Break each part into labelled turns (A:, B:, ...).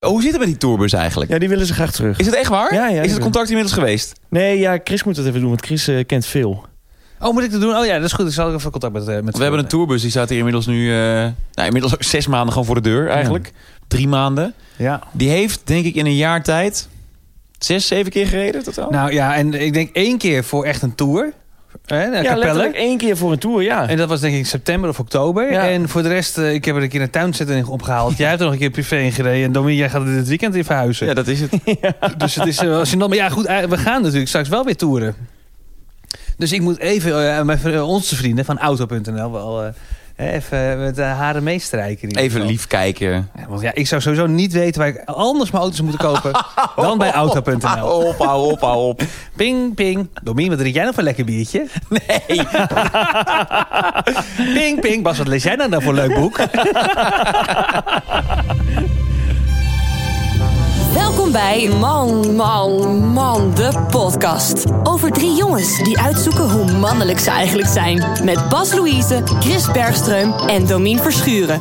A: Oh, hoe zit het met die tourbus eigenlijk?
B: Ja, die willen ze graag terug.
A: Is het echt waar?
B: Ja, ja,
A: is
B: ja.
A: het contact inmiddels geweest?
B: Nee, ja, Chris moet dat even doen, want Chris eh, kent veel.
C: Oh, moet ik dat doen? Oh ja, dat is goed. Ik zal even contact met... eh, met
A: We hebben een tourbus, die staat hier inmiddels nu... eh nou, inmiddels ook zes maanden gewoon voor de deur eigenlijk. Drie maanden.
C: Ja.
A: Die heeft, denk ik, in een jaar tijd... zes, zeven keer gereden totaal.
C: Nou ja, en ik denk één keer voor echt een tour. Hè, naar
B: ja,
C: Capelle.
B: letterlijk één keer voor een tour, ja.
C: En dat was denk ik september of oktober.
B: Ja.
C: En voor de rest, eh, ik heb er een keer een tuinzetting opgehaald. Jij hebt er nog een keer privé in gereden. En Domien, jij gaat er dit weekend in verhuizen.
A: ja, dat is het.
C: Dus het is eh, wel gênant. Maar ja, goed, eh, we gaan natuurlijk straks wel weer toeren. Dus ik moet even eh, mijn, vri- onze vrienden van Auto.nl wel eh, even met de haren meestrijken. in ieder
A: Even
C: geval.
A: lief kijken.
C: Ja, want ja, ik zou sowieso niet weten waar ik anders mijn auto's moet kopen dan bij Auto.nl.
A: Hou Ah, op, hou op, hou op.
C: Ping, ping. Domien, wat drink jij nou voor lekker biertje?
A: Nee.
C: Ping, ping. Bas, wat lees jij nou, nou voor leuk boek?
D: Welkom bij Man, Man, Man, de podcast. Over drie jongens die uitzoeken hoe mannelijk ze eigenlijk zijn. Met Bas Louise, Chris Bergström en Domien Verschuren.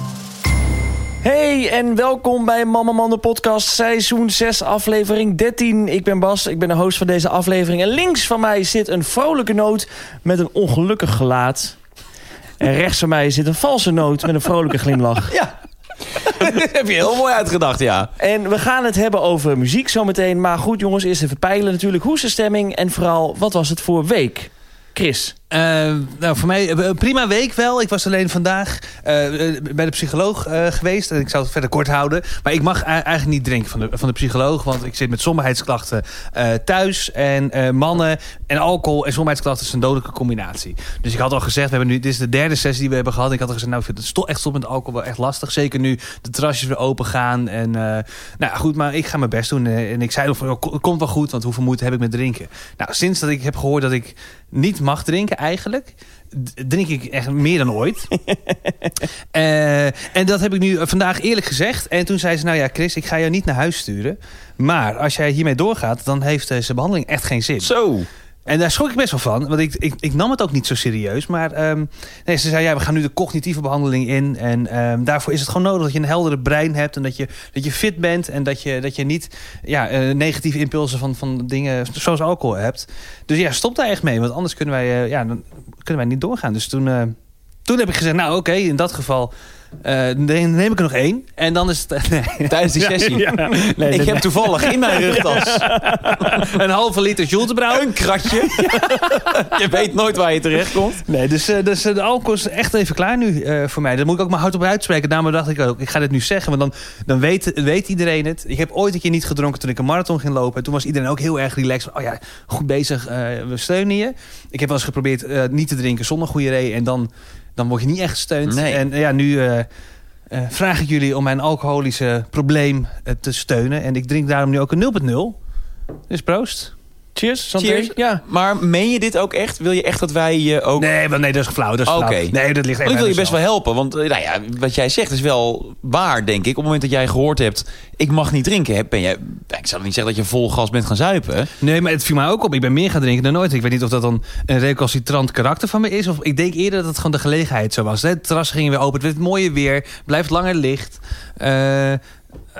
B: Hey en welkom bij Mama Man de podcast, seizoen 6, aflevering 13. Ik ben Bas, ik ben de host van deze aflevering. En links van mij zit een vrolijke noot met een ongelukkig gelaat. En rechts van mij zit een valse noot met een vrolijke glimlach.
A: Ja. dat heb je heel mooi uitgedacht, ja.
B: En we gaan het hebben over muziek zometeen. Maar goed jongens, eerst even peilen natuurlijk. Hoe is de stemming en vooral, wat was het voor week? Chris.
C: Eh, nou, voor mij eh, prima week wel. Ik was alleen vandaag eh, eh, bij de psycholoog eh, geweest. En ik zou het verder kort houden. Maar ik mag e- eigenlijk niet drinken van de, van de psycholoog. Want ik zit met somberheidsklachten eh, thuis. En eh, mannen en alcohol en somberheidsklachten is een dodelijke combinatie. Dus ik had al gezegd, we hebben nu, dit is de derde sessie die we hebben gehad. Ik had al gezegd, nou, ik vind het sto- echt stop met alcohol wel echt lastig. Zeker nu de terrasjes weer open gaan. En eh, nou goed, maar ik ga mijn best doen. Eh, En ik zei nog van, joh, ko- het komt wel goed, want hoeveel moeite heb ik met drinken? Nou, sinds dat ik heb gehoord dat ik niet mag drinken eigenlijk... d- drink ik echt meer dan ooit. Eh, en dat heb ik nu eh, vandaag eerlijk gezegd. En toen zei ze, nou ja Chris, ik ga jou niet naar huis sturen. Maar als jij hiermee doorgaat, dan heeft deze behandeling echt geen zin.
A: Zo.
C: En daar schrok ik best wel van, want ik, ik, ik nam het ook niet zo serieus. Maar ehm, nee, ze zei, ja, we gaan nu de cognitieve behandeling in. En ehm, daarvoor is het gewoon nodig dat je een heldere brein hebt... en dat je, dat je fit bent en dat je, dat je niet ja, eh, negatieve impulsen van, van dingen zoals alcohol hebt. Dus ja, stop daar echt mee, want anders kunnen wij, eh, ja, dan kunnen wij niet doorgaan. Dus toen, eh, toen heb ik gezegd, nou oké, in dat geval eh, neem neem ik er nog één. En dan is het nee,
A: Tijdens die sessie. ik heb toevallig in mijn rugtas
C: een halve liter Jultebrouw.
A: een kratje. je weet nooit waar je terecht komt.
C: Nee, dus, eh, dus eh, de alcohol is echt even klaar nu eh, voor mij. Daar moet ik ook maar hard op uitspreken. Daarom dacht ik ook, ik ga dit nu zeggen. Want dan, dan weet, weet iedereen het. Ik heb ooit een keer niet gedronken toen ik een marathon ging lopen. En toen was iedereen ook heel erg relaxed. Oh ja, goed bezig, eh, we steunen je. Ik heb wel eens geprobeerd eh, niet te drinken zonder goede reden. En dan, dan word je niet echt gesteund.
A: Nee.
C: En eh, ja, nu... eh, eh, vraag ik jullie om mijn alcoholische probleem eh, te steunen. En ik drink daarom nu ook een 0.0. Dus proost.
B: Cheers. Santé.
A: Cheers.
B: Ja.
A: Maar meen je dit ook echt? Wil je echt dat wij je ook...
C: Nee, wel, nee, dat is flauw. Dat is flauw.
A: Oké.
C: Nee, dat ligt
A: Want
C: echt
A: ik wil
C: aan
A: je best wel
C: mezelf.
A: helpen. Want eh, nou ja, wat jij zegt is wel waar, denk ik. Op het moment dat jij gehoord hebt... ik mag niet drinken, hè, ben jij... Ik zal niet zeggen dat je vol gas bent gaan zuipen.
C: Nee, maar het viel mij ook op. Ik ben meer gaan drinken dan ooit. Ik weet niet of dat dan een recalcitrant karakter van me is. Of ik denk eerder dat het gewoon de gelegenheid zo was. Het terras ging weer open. Het werd mooier weer. Blijft langer licht. Eh,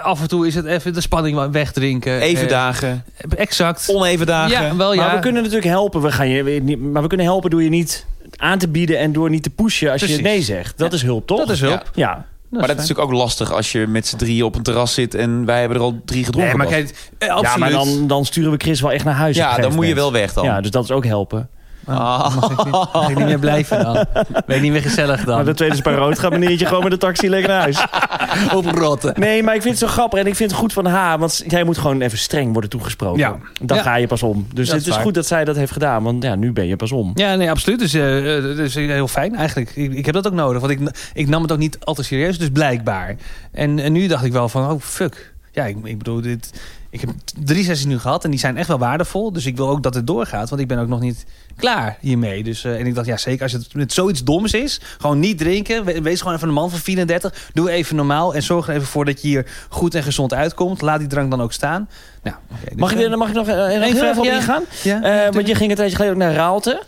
C: af en toe is het even de spanning wegdrinken.
A: Even
C: Eh,
A: dagen,
C: Exact.
A: oneven dagen.
C: Ja, wel Oh, ja.
B: Maar we kunnen natuurlijk helpen. We gaan je, weer niet- maar we kunnen helpen door je niet aan te bieden en door niet te pushen als je
C: Precies.
B: nee zegt. Dat
C: Ja.
B: is hulp, toch?
C: Dat is hulp.
A: Ja.
B: Ja.
A: maar dat is natuurlijk ook lastig als je met z'n drieën op een terras zit... en wij hebben er al drie gedronken.
C: Nee, maar
A: Bas.
C: kijk, eh,
B: ja,
C: absoluut.
B: maar dan, dan sturen we Chris wel echt naar huis. op
A: ja,
B: een
A: dan
B: gegeven
A: moet je wel
B: moment.
A: weg dan.
B: Ja, dus dat is ook helpen.
A: Ah.
C: Mag ik, niet, mag ik niet meer blijven dan. Ben ik niet meer gezellig dan.
B: Maar de tweede is bij rood gaat meneertje gewoon met de taxi lekker naar huis.
C: Oprotten.
B: Nee, maar ik vind het zo grappig en ik vind het goed van haar. Want jij moet gewoon even streng worden toegesproken.
C: Ja.
B: Dan
C: Ja.
B: ga je pas om. Dus
C: Dat
B: het
C: is
B: is
C: waar.
B: goed dat zij dat heeft gedaan. Want ja, nu ben je pas om.
C: Ja, nee, absoluut. Dus eh, eh, dat is heel fijn eigenlijk. Ik, ik heb dat ook nodig, want ik, ik nam het ook niet al te serieus, dus blijkbaar. En, en nu dacht ik wel van, oh fuck. Ja, ik, ik bedoel, dit, ik heb drie sessies nu gehad en die zijn echt wel waardevol. Dus ik wil ook dat het doorgaat, want ik ben ook nog niet klaar hiermee. Dus, eh, en ik dacht, ja zeker als het met zoiets doms is, gewoon niet drinken. we- Wees gewoon even een man van 34. Doe even normaal en zorg er even voor dat je hier goed en gezond uitkomt. Laat die drank dan ook staan. Nou, oké, dus,
B: Mag ik, Eh,
C: eh,
B: mag ik nog, eh, nog
C: één
B: heel
C: vraag,
B: even op
C: ja.
B: ingaan?
C: ja, Mhm.
B: Eh, want je ging een tijdje geleden ook naar Raalte.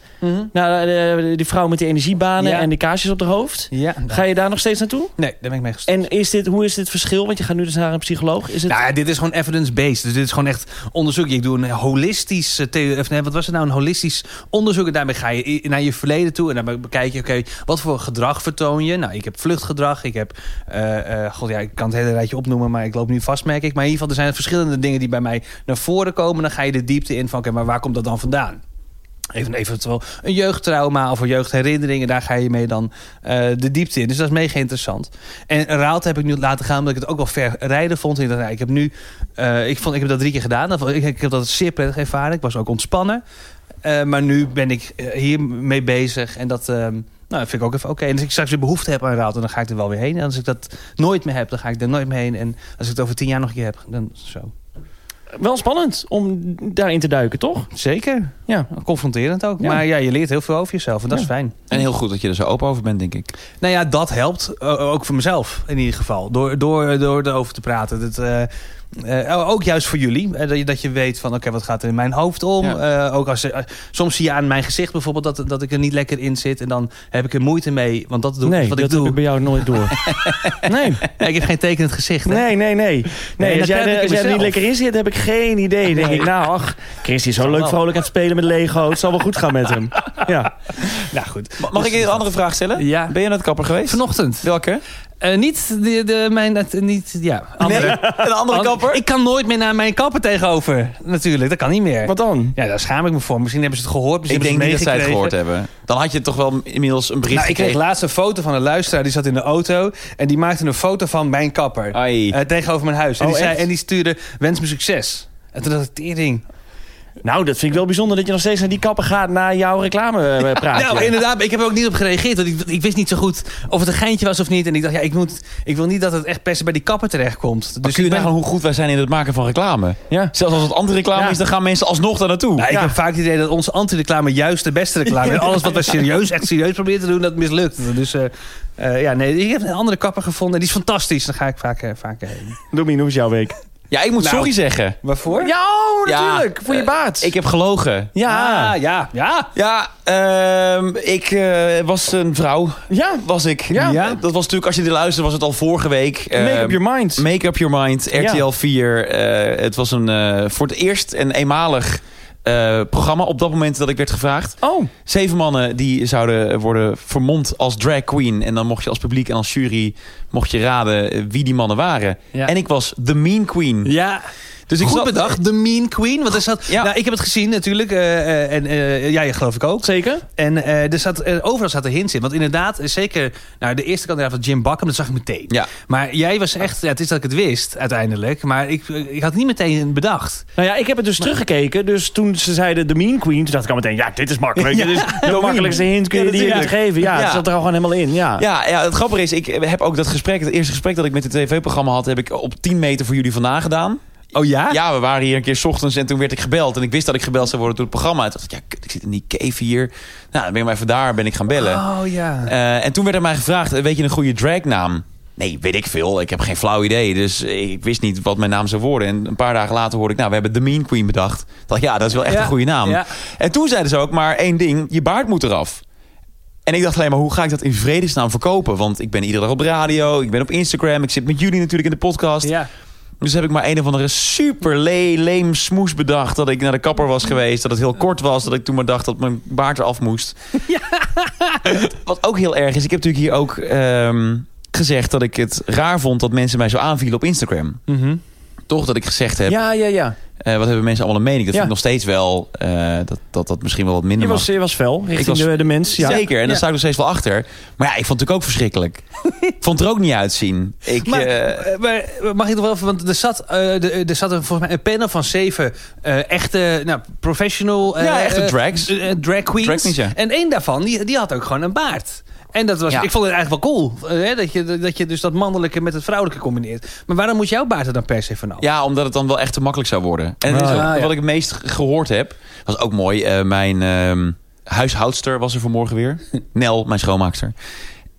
B: Nou, eh, die vrouw met die energiebanen
C: Ja.
B: en die kaarsjes op haar hoofd.
C: Ja.
B: Ga je daar nog steeds naartoe?
C: Nee, daar ben ik mee gestopt.
B: En is dit, hoe is dit verschil? Want je gaat nu dus naar een psycholoog. Is het...
C: Nou ja, dit is gewoon evidence-based. Dus dit is gewoon echt onderzoek. Ik doe een holistisch... eh, theo- Of nee, wat was het nou? Een holistisch onderzoek. En daarmee ga je i- naar je verleden toe. En daarbij bekijk je, oké, wat voor gedrag vertoon je? Nou, ik heb vluchtgedrag. Ik heb... eh, eh, god, ja, ik kan het hele rijtje opnoemen, maar ik loop nu vast, merk ik. Maar in ieder geval, er zijn verschillende dingen die bij mij naar voren komen. Dan ga je de diepte in van, oké, maar waar komt dat dan vandaan? Even eventueel een jeugdtrauma of een jeugdherinnering. En daar ga je mee dan eh, de diepte in. Dus dat is mega interessant. En Raalte heb ik nu laten gaan omdat ik het ook wel ver rijden vond. En ik dacht, nou, ik heb nu... eh, ik, vond, ik heb dat drie keer gedaan. Dat vond- Ik, ik heb dat zeer prettig ervaren. Ik was ook ontspannen. Eh, maar nu ben ik eh, hiermee bezig. En dat ehm, nou, vind ik ook even oké. En als ik straks weer behoefte heb aan Raalte, dan ga ik er wel weer heen. En als ik dat nooit meer heb, dan ga ik er nooit meer heen. En als ik het over tien jaar nog een keer heb, dan zo. Nou.
B: Wel spannend om daarin te duiken, toch?
C: Zeker.
B: Ja.
C: Confronterend ook.
B: Ja.
C: Maar ja, je leert heel veel over jezelf. En dat is fijn.
A: En heel goed dat je er zo open over bent, denk ik.
C: Nou ja, dat helpt. O- ook voor mezelf in ieder geval. Door, door, door erover te praten. Dat, eh, eh, ook juist voor jullie. Eh, dat, je, dat je weet van oké, wat gaat er in mijn hoofd om. Eh, ook als, eh, soms zie je aan mijn gezicht bijvoorbeeld dat, dat ik er niet lekker in zit. En dan heb ik er moeite mee. Want dat doe ik
B: nee,
C: wat
B: dat
C: ik doe.
B: heb ik bij jou nooit door. nee.
C: Ja, ik heb geen tekenend gezicht. hè?
B: Nee, nee, nee. nee
C: dat
B: als jij,
C: heb ik
B: er- als jij er niet
C: mezelf.
B: lekker in zit, heb ik geen idee. Dan denk ik, nou, ach, Chris is zo leuk
C: wel.
B: vrolijk aan het spelen met Lego. Het zal wel goed gaan met hem. Ja.
C: Nou goed.
A: Mag ik je een andere vraag stellen?
C: Ja.
A: Ben je naar de kapper geweest?
C: Vanochtend.
A: Welke?
C: Eh, niet de, de, mijn... het- Niet, ja, andere.
A: Een andere kapper?
C: Ik kan nooit meer naar mijn kapper tegenover. Natuurlijk, dat kan niet meer.
B: Wat dan?
C: Ja, daar schaam ik me voor. Misschien hebben ze het gehoord.
A: Ik
C: Misschien
A: denk niet
C: hebben
A: dat
C: ze
A: zij het gehoord
C: meegekregen.
A: hebben. Dan had je toch wel inmiddels een bericht
C: Nou, ik kreeg laatst een foto van een luisteraar. Die zat in de auto. En die maakte een foto van mijn kapper.
A: Ai.
C: eh, tegenover mijn huis. En,
B: Oh,
C: die zei,
B: echt?
C: en die stuurde, wens me succes. En toen dacht ik, tering.
B: Nou, dat vind ik wel bijzonder dat je nog steeds naar die kappen gaat na jouw reclame eh, praatje.
C: nou, inderdaad. maar Ik heb er ook niet op gereageerd. Want ik, ik wist niet zo goed of het een geintje was of niet. En ik dacht, ja, ik, moet, ik wil niet dat het echt per se bij die kapper terechtkomt.
A: dus
C: Dus
A: kun
C: ik
A: je
C: ben...
A: nagaan hoe goed wij zijn in het maken van reclame?
B: Ja.
A: Zelfs als het anti-reclame
B: Ja.
A: is, dan gaan mensen alsnog daar naartoe.
C: Nou, ik
B: Ja.
C: heb vaak het idee dat onze anti-reclame juist de beste reclame is. Alles wat we serieus, echt serieus proberen te doen, dat mislukt. Dus eh, eh, ja, nee, ik heb een andere kapper gevonden. en Die is fantastisch. Daar ga ik vaak, eh, vaak heen.
B: Domien, hoe is jouw week?
A: ja, ik moet
C: Nou.
A: sorry zeggen.
C: Waarvoor?
B: Ja, oh,
A: Ja,
B: natuurlijk. voor je
A: eh,
B: baat.
A: Ik heb gelogen.
B: ja.
C: Ah, ja, ja.
A: Ja, ehm, ik eh, was een vrouw.
B: Ja.
A: Was ik.
B: Ja.
A: Eh, Dat was natuurlijk, als je dit luistert, was het al vorige week.
B: Make
A: Ehm,
B: up your mind.
A: Make Up Your Mind, RTL
B: Ja.
A: 4. eh, het was een, eh, voor het eerst een eenmalig eh, programma op dat moment dat ik werd gevraagd.
B: Oh,
A: Zeven mannen die zouden worden vermomd als drag queen. En dan mocht je als publiek en als jury mocht je raden eh, wie die mannen waren.
C: Ja.
A: En ik was de mean queen.
C: Ja,
A: Dus ik
C: goed
A: zat-
C: bedacht. The Mean Queen. Wat is dat?
A: Ja.
C: Nou, ik heb het gezien natuurlijk. eh, eh, en eh, jij geloof ik ook.
B: zeker?
C: En eh, er zat, eh, overal zaten hints in. Want inderdaad, eh, zeker nou, de eerste kandidaat van Jim Buckham, dat zag ik meteen.
A: Ja.
C: Maar jij was echt, ja, het is dat ik het wist uiteindelijk. Maar ik, ik had het niet meteen bedacht.
B: Nou ja, ik heb het dus teruggekeken. Dus toen ze zeiden de Mean Queen, toen dacht ik al meteen... Ja, dit is makkelijk.
C: Ja,
B: dit is de
C: Mean.
B: makkelijkste hint kun je
C: Ja,
B: die je kunt
C: natuurlijk.
B: geven. Ja,
A: Ja.
B: het zat er al gewoon helemaal in. Ja.
A: Ja, ja, het grappige is, ik heb ook dat gesprek, het eerste gesprek dat ik met het tv-programma had, heb ik op 10 meter voor jullie vandaan gedaan.
C: Oh
A: Ja, we waren hier een keer 's ochtends en toen werd ik gebeld. En ik wist dat ik gebeld zou worden door het programma. En toen dacht ik, ja, kut, ik zit in die cave hier. Nou, dan ben ik maar even daar, ben ik gaan bellen.
C: Oh ja.
A: Eh, en toen werd er mij gevraagd, eh, weet je een goede dragnaam? Nee, weet ik veel. Ik heb geen flauw idee. Dus ik wist niet wat mijn naam zou worden. En een paar dagen later hoorde ik, nou, we hebben The Mean Queen bedacht. Ik Dacht, ja, dat is wel echt
C: Ja,
A: een goede naam.
C: ja.
A: En toen zeiden ze ook, maar één ding, je baard moet eraf. En ik dacht alleen maar, hoe ga ik dat in vredesnaam verkopen? Want ik ben iedere dag op de radio, ik ben op Instagram, ik zit met jullie natuurlijk in de podcast.
C: ja.
A: Dus heb ik maar een of andere super le- leem smoes bedacht. Dat ik naar de kapper was geweest. Dat het heel kort was. Dat ik toen maar dacht dat mijn baard eraf moest. Wat ook heel erg is. Ik heb natuurlijk hier ook ehm, gezegd dat ik het raar vond dat mensen mij zo aanvielen op Instagram.
C: Mhm.
A: Toch dat ik gezegd heb.
B: Hm. ja, ja. ja.
A: eh, wat hebben mensen allemaal een mening? Dat
B: Ja.
A: vind ik nog steeds wel. eh, dat, dat dat misschien wel wat
B: Je
A: minder
B: was,
A: was.
B: je was fel richting
A: was-
B: de, de mens. Ja.
A: Zeker. En daar
C: Ja.
A: sta ik nog steeds wel achter. Maar ja, ik vond het natuurlijk ook verschrikkelijk. vond het er ook niet uitzien. Ik,
C: Maar,
A: eh,
C: eh, maar mag ik nog wel even, want er zat, eh, de- er zat een, volgens mij een panel van zeven eh, echte nou, professional... eh,
A: Ja, echte
C: eh,
A: drags.
C: eh, eh, drag queens.
A: Drag queens, ja.
C: En één daarvan, die, die had ook gewoon een baard. En dat was,
A: Ja.
C: ik vond het eigenlijk wel cool. eh, hè, dat, je, dat je dus dat mannelijke met het vrouwelijke combineert. Maar waarom moet jouw baard er dan per se vanaf?
A: Ja, omdat het dan wel echt te makkelijk zou worden. En het is
C: Ah,
A: ook
C: ja.
A: wat ik het meest gehoord heb, was ook mooi. eh, mijn ehm, huishoudster was er vanmorgen weer. Nel, mijn schoonmaakster.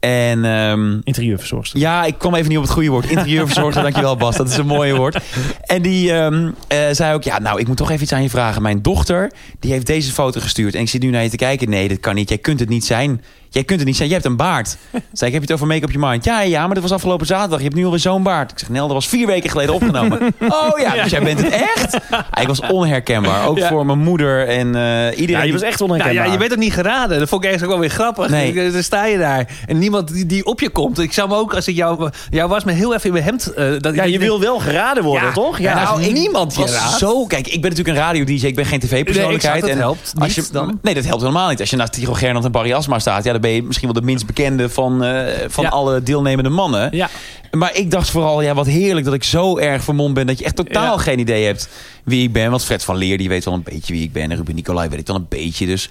A: En ehm,
B: Interieurverzorgster.
A: ja, ik kwam even niet op het goede woord. Interieurverzorger, dankjewel Bas. Dat is een mooie woord. En die ehm, eh, zei ook, ja, nou, ik moet toch even iets aan je vragen. Mijn dochter, die heeft deze foto gestuurd. En ik zit nu naar je te kijken. Nee, dat kan niet. Jij kunt het niet zijn. Jij kunt het niet zijn. Je hebt een baard. Zei ik, heb je het over Make Up Your Mind? Ja, ja, maar dat was afgelopen zaterdag. Je hebt nu alweer zo'n baard. Ik zeg, Nel, dat was vier weken geleden opgenomen. oh ja, dus jij bent het echt? Hij was onherkenbaar. Ook
B: Ja.
A: voor mijn moeder en eh, iedereen.
B: Ja, je
A: die-
B: was echt
C: Nou
B: onherkenbaar.
C: ja, je bent ook niet geraden. Dat vond ik eigenlijk ook wel weer grappig.
A: Nee.
C: Ik- Dan sta je daar. En niemand die, die op je komt. Ik zou me ook, als ik jou, jou was, me heel even in mijn hemd... eh, dat,
B: Ja,
C: dat
B: je
C: ik-
B: wil wel geraden worden,
C: Ja.
B: toch?
C: Ja, nou,
A: ik
C: niemand je
A: was
C: raadt.
A: Zo, kijk, ik ben natuurlijk een radio-dj, ik ben geen tv-persoonlijkheid.
C: Nee, exact, dat
A: en
C: helpt
A: als
C: niet
A: je,
C: dan.
A: Nee, dat helpt helemaal niet. Als je naast Tigo Gernand en Barry Asma staat, ja, dan ben je misschien wel de minst bekende van, eh, van
B: Ja.
A: alle deelnemende mannen.
B: Ja.
A: Maar ik dacht vooral, ja, wat heerlijk dat ik zo erg vermomd ben dat je echt totaal
B: Ja.
A: geen idee hebt wie ik ben. Want Fred van Leer, die weet wel een beetje wie ik ben. En Ruben Nicolai weet ik dan een beetje. Dus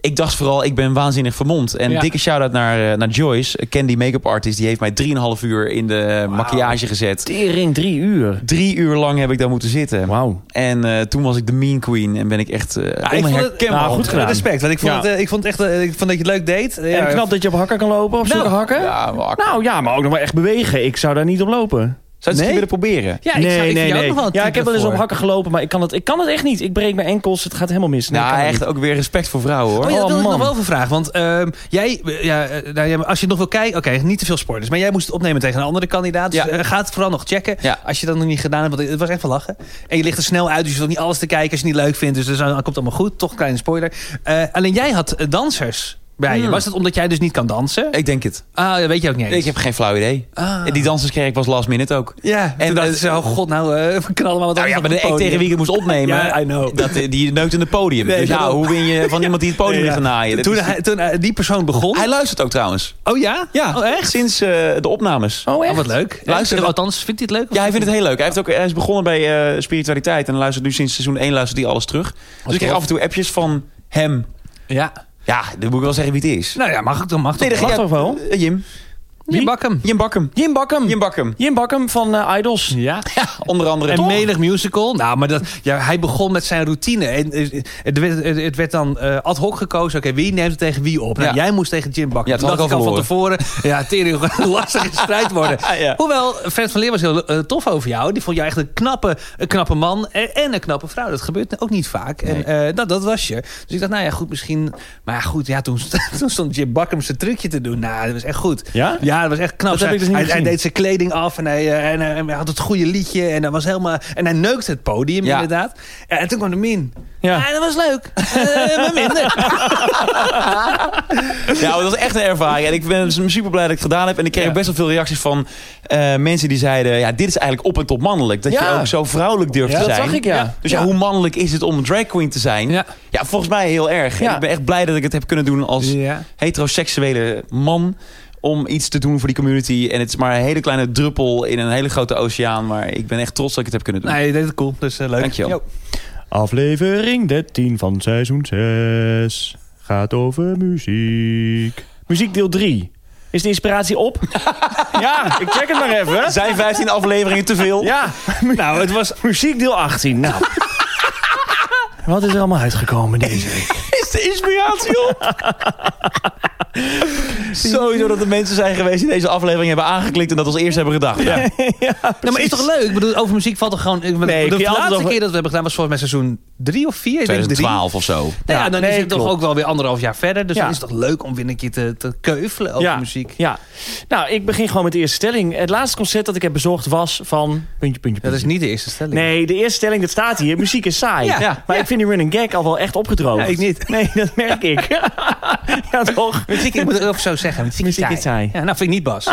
A: ik dacht vooral, ik ben waanzinnig vermomd. En
B: Ja.
A: dikke shout-out naar, eh, naar Joyce, een Candy make-up artist. Die heeft mij 3,5 uur in de eh, maquillage gezet.
B: Tering, drie uur.
A: Drie uur lang heb ik daar moeten zitten.
B: Wauw.
A: En eh, toen was ik de mean queen en ben ik echt eh
C: Ja, ik vond het-
A: onherkenbaar.
B: Nou, goed gedaan.
C: Respect, want ik vond,
B: Ja.
C: het, eh, ik vond het echt eh, ik vond dat je het leuk deed.
B: En
C: Ja,
B: knap dat je op hakken kan lopen, op zulke hakken.
A: Ja, maar zou
B: Nou ja, maar ook nog maar echt bewegen. Ik zou daar niet op lopen.
A: je het eens
B: Nee?
A: willen proberen?
C: Ja, ik zou- ik vind jou ook nog wel een
B: Ja, ik
C: type
B: heb wel eens op
C: ervoor.
B: hakken gelopen, maar ik kan, het, ik kan het echt niet. Ik breek mijn enkels, het gaat helemaal mis. Nee, ik
A: nou,
B: kan het
A: echt
B: niet.
A: ook weer respect voor vrouwen hoor.
C: Oh, ja, dat
B: Oh,
C: wil ik
B: man.
C: nog wel even vragen. Want ehm, jij, eh, ja, eh, nou, ja, maar als je het nog wil kijken, oké, niet te veel sporters. Maar jij moest het opnemen tegen een andere kandidaat. Dus
A: Ja.
C: eh, ga het vooral nog checken.
A: Ja.
C: Als je dat nog niet gedaan hebt, want het was echt van lachen. En je ligt er snel uit, dus je hoeft niet alles te kijken als je het niet leuk vindt. Dus dan komt het allemaal goed. Toch een kleine spoiler. Eh, alleen jij had eh, dansers bij je.
A: Hmm.
C: Was dat omdat jij dus niet kan dansen?
A: Ik denk het.
C: Ah, dat weet je ook niet eens.
A: Ik heb geen flauw idee.
C: Ah.
A: En Die danserskerk was last minute ook.
C: Ja, en
A: En,
C: toen
A: eh,
C: dachten ze, oh god, nou, eh, we knallen maar wat
A: Nou
C: anders
A: ja,
C: op
A: maar de
C: het
A: act
C: podium.
A: tegen wie ik het moest opnemen,
C: Ja, I know.
A: dat, eh, die neut in het podium.
C: Nee,
A: dus nou,
C: daarom.
A: hoe win je van iemand die het podium
C: Ja.
A: ligt te naaien? Dat
C: Toen,
A: is-
C: hij, toen hij- die persoon begon.
A: Hij luistert ook trouwens.
C: oh ja?
A: Ja,
C: Oh, echt?
A: sinds eh, de opnames.
C: Oh, wat leuk.
A: Luister,
C: Eh, althans, vindt hij het leuk? Of-
A: Ja, hij vindt het heel leuk. Hij, heeft ook, hij is begonnen bij eh, spiritualiteit en luistert nu sinds seizoen 1 luistert hij alles terug. Dus ik krijg
C: tof.
A: af en toe appjes van hem.
C: Ja.
A: Ja, dan moet ik wel zeggen wie het is.
C: Nou ja, mag ik dan? Mag
A: Nee,
C: toch?
A: dat
B: Mag
A: ja,
B: toch wel?
A: eh, Jim.
C: Wie? Bak hem.
A: Jim Bakkum.
B: Jim Bakkum.
A: Jim Bakkum.
B: Jim Bakkum van eh, Idols.
C: Ja.
A: Onder andere.
C: En
A: Toch?
C: menig musical. Nou, maar dat, ja, hij begon met zijn routine. En eh, het werd, het- het werd dan eh, ad hoc gekozen. Oké, wie neemt het tegen wie op? Nou,
A: Ja.
C: Jij moest tegen Jim Bakker.
A: Ja, dat had
C: Toen
A: ik al
C: dacht ik van tevoren. Ja, tering, een lastige strijd worden.
A: Ja.
C: Hoewel, Fred van Leer was heel eh, tof over jou. Die vond jou echt een knappe, een knappe man en, en een knappe vrouw. Dat gebeurt ook niet vaak. En eh, dat, dat was je. Dus ik dacht, nou ja, goed, misschien... Maar ja, goed, ja, toen, st- toen stond Jim Bakker zijn trucje te doen. Nou, dat was echt goed.
B: Ja?
C: Ja, dat was echt knap.
B: Dat heb
C: Hij-
B: ik dus niet
C: hij, hij
B: gezien.
C: deed zijn kleding af en hij, eh, en, hij- en hij had het goede liedje. En, hij was helemaal, en hij neukte het podium,
A: Ja.
C: inderdaad. Ja, en toen kwam de min.
B: Ja.
C: Ja. dat was leuk. Eh, maar minder.
A: Ja, dat was echt een ervaring. En ik ben super blij dat ik het gedaan heb. En ik kreeg
C: Ja.
A: ook best wel veel reacties van eh, mensen die zeiden... Ja, dit is eigenlijk op en top mannelijk. Dat
B: Ja.
A: je ook zo vrouwelijk durft
B: Ja,
A: te
B: dat
A: zijn.
B: zag ik, ja. Ja.
A: Dus ja,
B: Ja.
A: hoe mannelijk is het om een drag queen te zijn?
C: Ja.
A: volgens mij heel erg.
B: Ja.
A: En ik ben echt blij dat ik het heb kunnen doen als
C: Ja.
A: heteroseksuele man... om iets te doen voor die community. En het is maar een hele kleine druppel in een hele grote oceaan. Maar ik ben echt trots dat ik het heb kunnen doen.
C: Nee, je deed het cool. Dus eh, leuk.
A: Dankjewel.
C: Jo.
B: Aflevering 13 van seizoen 6 gaat over muziek. Muziek deel 3. Is de inspiratie op? ja, ik check het maar even.
A: Zijn 15 afleveringen te veel?
B: Ja,
C: Nou, het was...
B: muziek deel 18. Nou. Wat is er allemaal uitgekomen deze week?
A: is de inspiratie op. Sowieso dat er mensen zijn geweest die deze aflevering hebben aangeklikt en dat als eerst hebben gedacht. Ja.
C: Nou, maar is toch leuk? Ik bedoel, over muziek valt toch gewoon... ik bedoel,
B: Nee, kun
C: de
B: je altijd
C: laatste
B: over-
C: keer dat we hebben gedaan was volgens mij seizoen drie of vier. Ik denk drie.
A: of zo.
C: Nou ja,
B: Ja,
C: dan
B: nee,
C: is het toch
B: klopt.
C: ook wel weer anderhalf jaar verder. Dus
B: Ja.
C: dan is het toch leuk om weer een keer te, te keuvelen over
B: ja,
C: muziek.
B: Ja. Nou, ik begin gewoon met de eerste stelling. Het laatste concert dat ik heb bezocht was van... Puntje, puntje,
C: Dat is
B: puntje.
C: niet de eerste stelling.
B: Nee, de eerste stelling, dat staat hier. Muziek is saai.
C: Ja,
A: ja.
B: Maar ik vind die running gag al wel echt opgedroogd.
C: Ja, ik niet.
B: Nee, dat merk ik. ja, toch?
C: Muziek, ik moet het ook zo zeggen. Muziek,
B: Muziek
C: is
B: is saai.
C: Ja, nou vind ik niet Bas.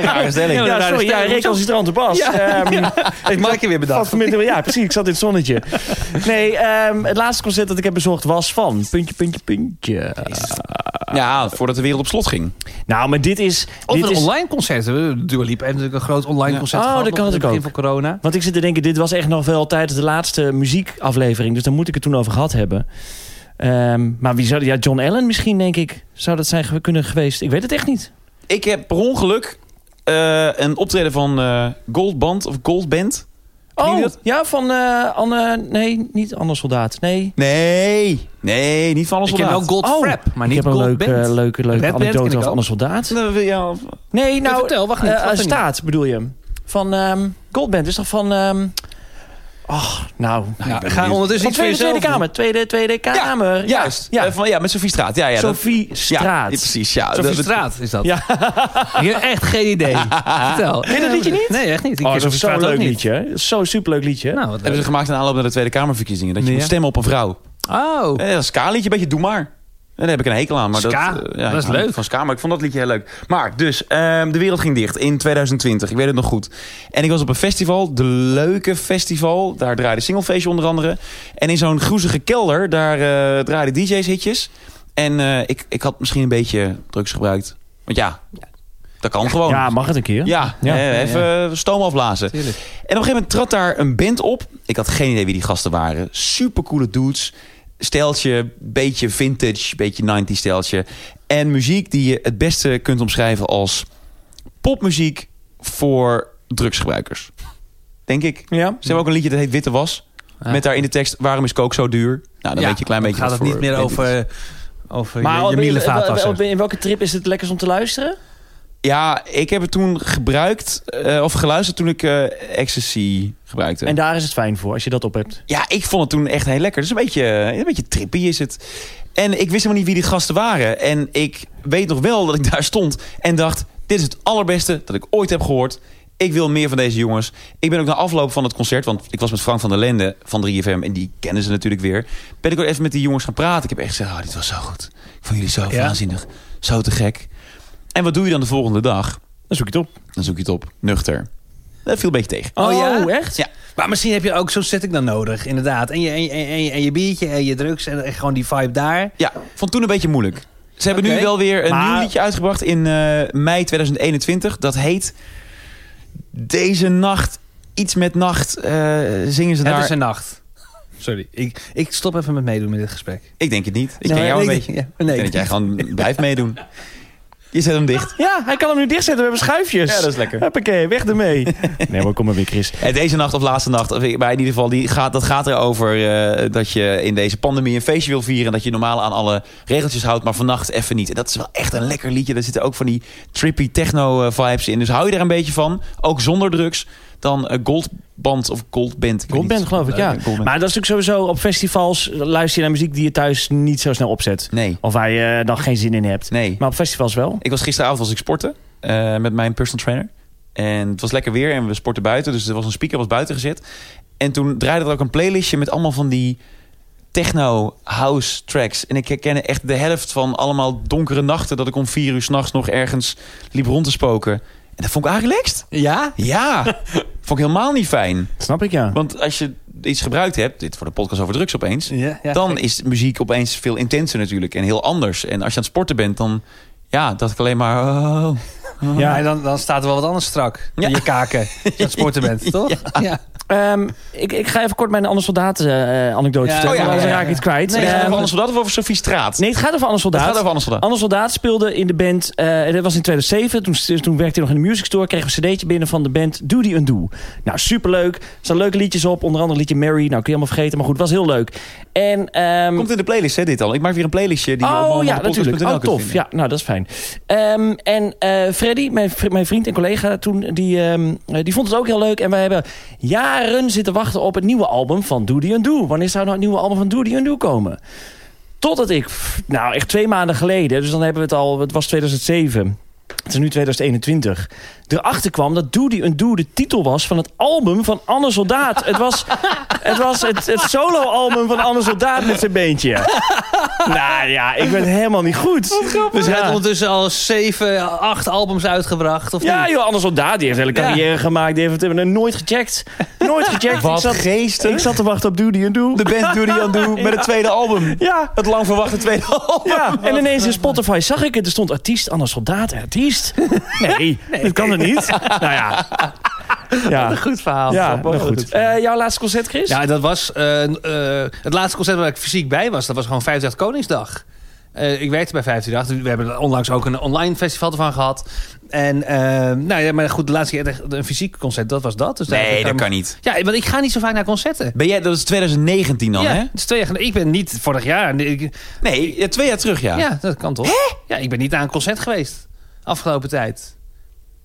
A: Rare stelling.
C: Ja,
B: Ja,
C: daar
B: sorry,
C: is
B: ja,
C: Theo
B: recalcitrante Bas.
C: Ja.
B: Ehm,
C: Ik maak je weer
B: Van
C: bedacht.
B: vanmiddag- ja, precies. Ik zat in het zonnetje. Nee, ehm, het laatste concert dat ik heb bezocht was van... Puntje, puntje, puntje.
A: Ja, voordat de wereld op slot ging.
B: Nou, maar dit is...
C: Of
B: dit
C: een
B: is
C: online concert. Dua Lipa heeft natuurlijk een groot online concert
B: Oh,
C: gehad.
B: dat kan
C: nog aan
B: natuurlijk
C: het begin van corona.
B: want ik zit te denken, dit was echt nog wel tijdens de laatste muziekaflevering. Dus daar moet ik het toen over gehad hebben. Ehm, maar wie zou... Ja, John Allen misschien, denk ik. Zou dat zijn ge- kunnen geweest? Ik weet het echt niet.
A: Ik heb per ongeluk eh, een optreden van eh Goldband of Goldband. Ken
B: Oh,
A: je dat?
B: ja, van eh, Anne... Nee, niet Anne Soldaat. Nee.
A: Nee, nee, niet van alles
C: Ik ken wel Gold
B: Oh,
C: Frap, maar
B: ik
C: niet
B: heb een
C: Gold
B: leuke,
C: Band.
B: leuke,
C: Red
B: leuke
C: Band ken
B: anekdote
C: ik
B: over
C: ook.
B: Anne Soldaat.
A: Ja,
B: Nee, nou...
C: vertel, wacht niet,
B: eh,
C: wacht er niet.
B: staat, bedoel je. hem. Van ehm Goldband. Is toch van... ehm Ach, nou...
C: Nou, ga ondertussen
B: Van
C: iets voor
B: tweede,
C: jezelf
B: tweede
C: doen.
B: Kamer. Tweede, Tweede Kamer. Ja,
A: juist.
B: Ja.
A: Eh, van, ja, met Sophie Straat. Ja, ja, dat-
B: Sophie
A: ja,
B: Straat.
A: ja, precies, ja.
C: Sophie
A: Dat-
C: Straat is dat.
B: Ja.
C: Ik heb echt geen idee. Vertel. Ken
B: je dat liedje niet?
C: Nee, echt niet. Ik
B: Oh,
C: ken
B: dat
C: Sophie
B: is zo'n
C: Straat ook
B: leuk
C: niet.
B: liedje. hè? Zo'n superleuk liedje.
C: Nou, wat
A: Hebben ze
C: leuk.
A: gemaakt in aanloop naar de Tweede Kamerverkiezingen. Dat je
C: Ja.
A: moet stemmen op een vrouw.
C: Oh.
A: Ja, dat ska-liedje, een beetje doe maar. En daar heb ik een hekel aan. Maar
C: Ska?
A: dat, eh,
C: Dat
A: ik
C: is
A: hou
C: leuk.
A: niet Van ska, maar ik vond dat liedje heel leuk. Maar dus, ehm, de wereld ging dicht in 2020. Ik weet het nog goed. En ik was op een festival, de Leuke Festival. Daar draaide Singlefeestje onder andere. En in zo'n groezige kelder, daar eh draaiden DJ's hitjes. En eh, ik, ik had misschien een beetje drugs gebruikt. Want ja, dat kan gewoon.
B: Ja, mag het een keer?
A: Ja,
B: Ja.
A: eh,
C: Ja, ja.
A: even eh, stoom afblazen.
C: Tuurlijk.
A: En op een gegeven moment trad daar een band op. Ik had geen idee wie die gasten waren. Supercoole dudes. Steltje, beetje vintage, beetje 90 steltje. En muziek die je het beste kunt omschrijven als popmuziek voor drugsgebruikers. Denk ik. Ze
B: Ja.
A: hebben ook een liedje dat heet Witte Was.
C: Ja.
A: Met daar in de tekst, waarom is kook zo duur? Nou, dan
C: Ja,
A: weet je een klein
C: dan
A: beetje
C: gaat
A: wat
C: het
A: voor
C: niet meer
A: band dit is.
C: over, over
B: Maar
C: je, je
B: wel-
C: mielenvaat
B: wel-
C: was
B: wel-
C: er.
B: in welke trip is het lekkers om te luisteren?
A: Ja, ik heb het toen gebruikt, eh, of geluisterd toen ik eh ecstasy gebruikte.
B: En daar is het fijn voor, als je dat op hebt.
A: Ja, ik vond het toen echt heel lekker. Dus een beetje, een beetje trippy is het. En ik wist helemaal niet wie die gasten waren. En ik weet nog wel dat ik daar stond en dacht... dit is het allerbeste dat ik ooit heb gehoord. Ik wil meer van deze jongens. Ik ben ook na afloop van het concert... want ik was met Frank van der Lende van 3FM... en die kennen ze natuurlijk weer. Ben ik ook even met die jongens gaan praten. Ik heb echt gezegd, oh, dit was zo goed. Ik vond jullie zo
C: Ja?
A: waanzinnig. Zo te gek. En wat doe je dan de volgende dag?
B: Dan zoek je het op.
A: Dan zoek je het op. Nuchter. Dat viel een beetje tegen.
C: Oh, ja?
B: echt?
A: Ja.
C: Maar misschien heb je ook zo'n setting dan nodig, inderdaad. En je, en, je- en, je- en je biertje en je drugs en, en gewoon die vibe daar.
A: Ja, vond toen een beetje moeilijk. Ze hebben
C: Oké.
A: nu wel weer een
B: Maar-
A: nieuw liedje uitgebracht in eh, mei 2021. Dat heet Deze Nacht, iets met nacht, eh, zingen ze
C: Het
A: daar.
C: is een nacht. Sorry, ik, ik stop even met meedoen met dit gesprek.
A: Ik denk het niet. Ik
C: Nee,
A: ken jou een
C: Nou, ik-
A: beetje.
C: ja,
A: ik
C: nee,
A: denk dat jij gewoon blijft meedoen. Je zet hem dicht.
B: Ja, hij kan hem nu dichtzetten. We hebben schuifjes.
A: Ja, dat is lekker.
B: Huppakee, weg ermee. nee, maar kom maar weer, Chris.
A: Eh, Deze nacht of laatste nacht, of, maar in ieder geval, die gaat, dat gaat erover eh, dat je in deze pandemie een feestje wil vieren. En dat je normaal aan alle regeltjes houdt, maar vannacht even niet. En dat is wel echt een lekker liedje. Daar zitten ook van die trippy techno-vibes in. Dus hou je er een beetje van, ook zonder drugs, dan eh, Goldband of Goldband. ik weet
B: Goldband,
A: niet.
B: geloof ik, ja.
A: Leuk, Goldband.
B: Maar dat is natuurlijk sowieso op festivals luister je naar muziek die je thuis niet zo snel opzet.
A: Nee,
B: Of waar je eh, dan geen zin in hebt.
A: nee.
B: Maar op festivals wel.
A: Ik was gisteravond was ik sporten eh, met mijn personal trainer. En het was lekker weer en we sporten buiten. Dus er was een speaker was buiten gezet. En toen draaide er ook een playlistje met allemaal van die techno house tracks. En ik herkende echt de helft van allemaal donkere nachten... dat ik om vier uur s'nachts nog ergens liep rond te spoken. En dat vond ik eigenlijk relaxed.
C: Ja?
A: Ja, vond ik helemaal niet fijn.
B: Snap ik, ja.
A: Want als je iets gebruikt hebt... dit voor de podcast over drugs opeens...
C: Ja, ja.
A: dan is muziek opeens veel intenser natuurlijk en heel anders. En als je aan het sporten bent, dan ja, dacht ik alleen maar... oh.
C: ja, en dan, dan staat er wel wat anders strak.
A: Ja.
C: In je kaken. Als je aan het sporten bent, toch? Ja.
B: Ehm, ik, ik ga even kort mijn Anne Soldaat eh, anekdote
C: Ja,
B: vertellen.
A: oh ja, ja,
B: want anders
A: ja,
B: raak ik
C: ja.
B: het kwijt.
A: Nee, gaat het
B: Ehm,
A: over Anne Soldaat of over Sophie Straat?
B: nee, het gaat over Anne
A: het
B: Soldaat.
A: gaat over Anne Soldaat.
B: Anne Soldaat speelde in de band, eh, dat was in 2007. Toen, toen werkte hij nog in de music store. Kregen we een cd'tje binnen van de band Doody Undo. Nou, superleuk. Er staan leuke liedjes op. Onder andere het liedje Mary. Nou, kun je allemaal vergeten. Maar goed, was heel leuk. En, ehm,
A: Komt in de playlist, hè, dit al. Ik maak weer een playlistje die je op
B: oh ja,
A: mamamandenpodcast.nl
B: natuurlijk. Oh,
A: kunt
B: tof.
A: vinden.
B: Ja, nou, dat is fijn. Ehm, en eh, Freddy, mijn, vri- mijn vriend en collega toen, die, ehm, eh, die vond het ook heel leuk. En wij hebben jaren zitten wachten op het nieuwe album van Doody and Do. Wanneer zou nou het nieuwe album van Doody and Do komen? Totdat ik, pff, nou echt twee maanden geleden, dus dan hebben we het al, het was 2007. Het is nu 2021. Erachter kwam dat Doody and Do de titel was van het album van Anne Soldaat. Het was het, was het, het solo-album van Anne Soldaat met zijn beentje. nou ja, ik ben helemaal niet goed.
C: Dus hij heeft
B: ja.
C: ondertussen al zeven, acht albums uitgebracht, of
B: Ja,
C: niet?
B: joh, Anne Soldaat, die heeft hele
C: Ja.
B: carrière gemaakt. Die heeft het hebben we nooit gecheckt. Nooit gecheckt.
A: Wat
B: ik, zat,
A: geestig.
B: ik zat te wachten op Doody and Do.
A: De band Doody aan Doe met het tweede album.
B: Ja,
A: Het lang verwachte tweede album.
B: ja. En ineens in Spotify zag ik het. Er stond artiest, Anne Soldaat, artiest. Nee, dat kan er niet. Nou ja. Ja,
C: Goed verhaal.
B: ja
C: Grappig.
B: nou goed. Eh, jouw laatste concert, Chris?
C: Ja, dat was eh, eh, het laatste concert waar ik fysiek bij was. Dat was gewoon 50 Koningsdag. Eh, ik werkte bij 158. We hebben er onlangs ook een online festival ervan gehad. En eh, nou ja, maar goed, de laatste keer echt een fysiek concert, dat was dat. Dus daar-
A: Nee,
C: daar-
A: dat kan niet.
C: Ja, want ik ga niet zo vaak naar concerten.
A: Ben jij, dat is 2019 dan,
C: ja,
A: hè?
C: het is twee jaar geleden. Ik ben niet vorig jaar. Ik,
A: Nee, ja, twee jaar terug, ja.
C: ja. dat kan toch? Ja, ik ben niet naar een concert geweest. Afgelopen tijd.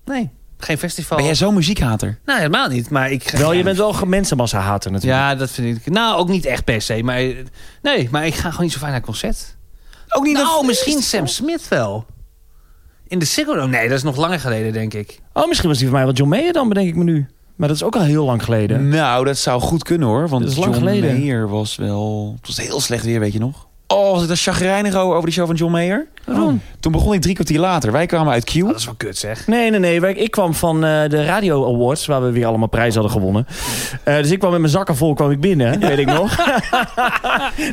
C: Nee, geen festival.
A: Ben jij zo'n muziekhater?
C: Nou, helemaal niet. Maar ik.
B: Wel, je bent wel ge- mensenmassa-hater natuurlijk.
C: Ja, dat vind ik. Nou, ook niet echt per se. Maar, nee, maar ik ga gewoon niet zo vaak naar concert.
A: Ook niet
C: nou, misschien Sam Smith wel. In de Ziggo Dome? Nee, dat is nog langer geleden, denk ik.
B: Oh, misschien was die van mij wel John Mayer dan, bedenk ik me nu. Maar dat is ook al heel lang geleden.
A: Nou, dat zou goed kunnen hoor. Want
B: Dat is lang
A: John
B: geleden.
A: Mayer was wel... Het was heel slecht weer, weet je nog? Oh, was ik daar chagrijnig over over die show van John Mayer?
B: Waarom?
A: Toen begon ik drie kwartier later. Wij kwamen uit Q.
C: Oh, dat is wel kut, zeg.
B: Nee, nee, nee. wij- Ik kwam van eh, de Radio Awards, waar we weer allemaal prijzen hadden gewonnen. Eh, dus ik kwam met mijn zakken vol, kwam ik binnen, weet ik nog.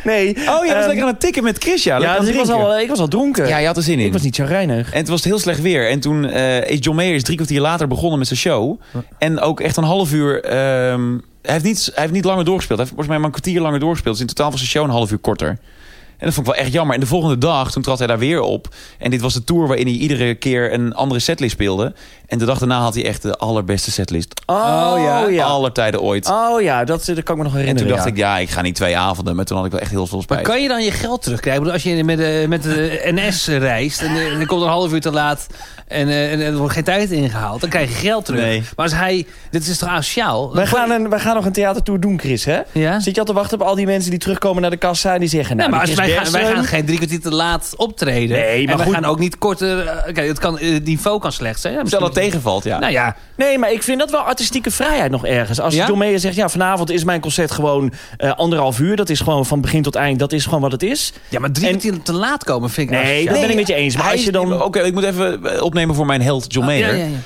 B: nee.
A: Oh, jij was
B: ehm,
A: lekker aan het tikken met Chris, ja.
B: Ja,
A: Lekker
B: dus ik
A: aan het
B: was,
A: drinken.
B: al, ik was al dronken.
A: Ja, je had er zin in.
B: ik was niet chagrijnig.
A: En het was heel slecht weer. En toen eh, is John Mayer is drie kwartier later begonnen met zijn show. En ook echt een half uur... ehm, hij, heeft niet, hij heeft niet langer doorgespeeld. Hij heeft volgens mij maar een kwartier langer doorgespeeld. Dus in totaal was zijn show een half uur korter. En dat vond ik wel echt jammer. En de volgende dag, toen trad hij daar weer op. En dit was de tour waarin hij iedere keer een andere setlist speelde. En de dag daarna had hij echt de allerbeste setlist.
B: Oh, ja.
A: Aller tijden ooit.
B: Oh ja, dat, dat kan ik me nog
A: en
B: herinneren.
A: toen dacht
B: ja.
A: ik, ja, ik ga niet twee avonden. Maar toen had ik wel echt heel veel
C: Maar
A: spijt.
C: kan je dan je geld terugkrijgen? Ik bedoel, Als je met de, met de NS reist en eh, er komt een half uur te laat en, eh, en er wordt geen tijd ingehaald, dan krijg je geld terug.
A: Nee.
C: Maar als hij, dit is toch asociaal?
B: Wij gaan, een, wij gaan nog een theatertour doen, Chris, hè?
C: Ja?
B: Zit je al te wachten op al die mensen die terugkomen naar de kassa en die zeggen...
C: Nee,
B: Nou,
C: maar als
B: die
C: wij,
B: Chris
C: gaan, wij
B: Bergström-
C: gaan geen drie kwartier te laat optreden.
B: Nee, maar
C: en we
B: goed.
C: gaan ook niet korter... eh, Oké, het, kan, eh, het niveau kan slecht zijn. Ja,
A: Stel dat
C: misschien-
A: tegenvalt, ja.
C: Nou ja,
B: Nee, maar ik vind dat wel artistieke vrijheid nog ergens. Als
C: Ja?
B: John Mayer zegt, ja, vanavond is mijn concert gewoon eh, anderhalf uur. Dat is gewoon van begin tot eind, dat is gewoon wat het is.
C: ja maar drie
B: En-
C: kwartier te laat komen vind ik
B: Nee, dat
C: asociaal.
B: ben ik met je eens. Maar
A: Hij
B: als je
A: is-
B: dan...
A: Oké, ik moet even eh, opnemen voor mijn held John
C: Ah,
A: Mayer.
C: ja, ja, ja.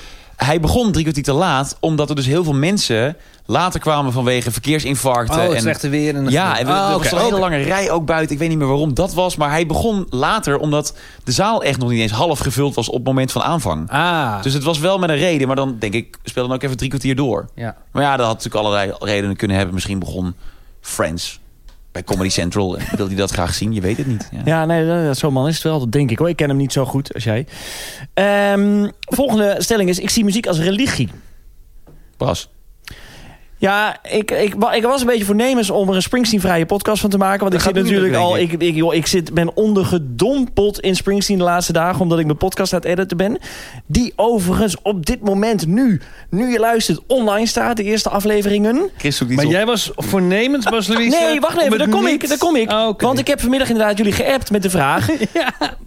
A: Hij begon drie kwartier te laat, omdat er dus heel veel mensen later kwamen vanwege verkeersinfarcten.
C: Oh, het
A: en,
C: slechte weer. En
A: Ja, en we-
C: Oh,
A: er was
C: oké.
A: al een hele lange rij ook buiten. Ik weet niet meer waarom dat was. Maar hij begon later, omdat de zaal echt nog niet eens half gevuld was op het moment van aanvang.
C: Ah,
A: Dus het was wel met een reden, maar dan denk ik, speel dan ook even drie kwartier door.
C: ja.
A: Maar ja, dat had natuurlijk allerlei redenen kunnen hebben. Misschien begon Friends bij Comedy Central. En wil hij dat graag zien? Je weet het niet. Ja.
B: Ja, nee, dat- dat- zo'n man is het wel. Dat denk ik hoor. Ik ken hem niet zo goed als jij. Ehm, volgende stelling is, ik zie muziek als religie.
A: Bas.
B: Ja, ik, ik, wa- ik was een beetje voornemens om er een Springsteen-vrije podcast van te maken. Want
A: Dat
B: ik zit
A: gaat niet
B: natuurlijk
A: lukken,
B: al...
A: denk
B: Ik, ik, joh, ik zit, ben ondergedompeld in Springsteen de laatste dagen... omdat ik mijn podcast aan het editen ben. Die overigens op dit moment nu, nu je luistert, online staat. De eerste afleveringen.
A: Chris zoekt iets
C: Maar
A: op.
C: jij was voornemens, Bas Louise.
B: Nee, wacht even, daar kom ik, daar kom ik.
C: Oh, oké.
B: Want ik heb vanmiddag inderdaad jullie geappt met de vraag...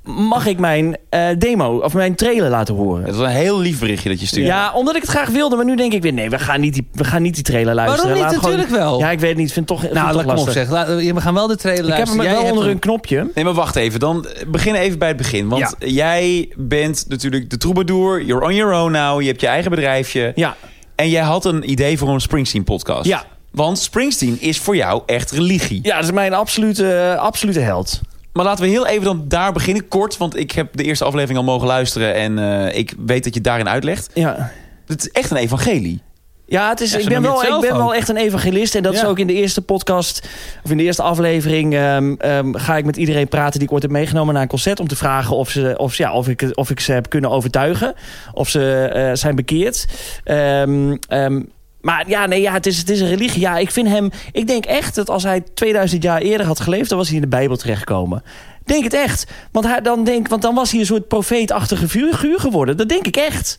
B: mag ik mijn eh, demo of mijn trailer laten horen?
A: Het was een heel lief berichtje dat je
B: Ja.
A: stuurde.
B: omdat ik het graag wilde, maar nu denk ik weer... nee, we gaan niet die, we gaan niet die trailer luisteren.
C: Waarom niet?
B: Laat gewoon-
C: Natuurlijk wel.
B: Ja, ik weet het niet, vind het toch, vind het
C: Nou,
B: toch
C: laat ik hem
B: lastig.
C: op zeggen. Laat- We gaan wel de trailer
B: Ik heb hem
C: luisteren.
B: wel
C: Jij
B: onder een
C: hebt
B: knopje.
A: Nee, maar wacht even. Dan eh, begin even bij het begin. Want jij bent natuurlijk de troubadour. You're on your own now. Je hebt je eigen bedrijfje.
B: Ja,
A: En jij had een idee voor een Springsteen-podcast.
B: Ja.
A: Want Springsteen is voor jou echt religie.
B: ja dat is mijn absolute, eh, absolute held.
A: Maar laten we heel even dan daar beginnen, kort. Want ik heb de eerste aflevering al mogen luisteren. En eh, ik weet dat je het daarin uitlegt.
B: Ja.
A: Het is echt een evangelie.
B: Ja, het is,
C: Ja,
B: ik,
C: zo
B: ben
C: noem je
B: wel,
C: het
B: ik
C: zelf
B: ben
C: ook.
B: wel echt een evangelist. En dat is
C: Ja.
B: ook in de eerste podcast, of in de eerste aflevering... ehm, ehm, ga ik met iedereen praten die ik ooit heb meegenomen naar een concert... om te vragen of, ze, of, ze- ja, of, ik, of ik ze heb kunnen overtuigen. Of ze eh, zijn bekeerd. Ehm, ehm, maar ja, nee, ja het, is, het is een religie. Ja, ik vind hem... Ik denk echt dat als hij 2000 jaar eerder had geleefd... dan was hij in de Bijbel terechtgekomen. Denk het echt. Want, hij, dan denk, want dan was hij een soort profeetachtige figuur geworden. Dat denk ik echt.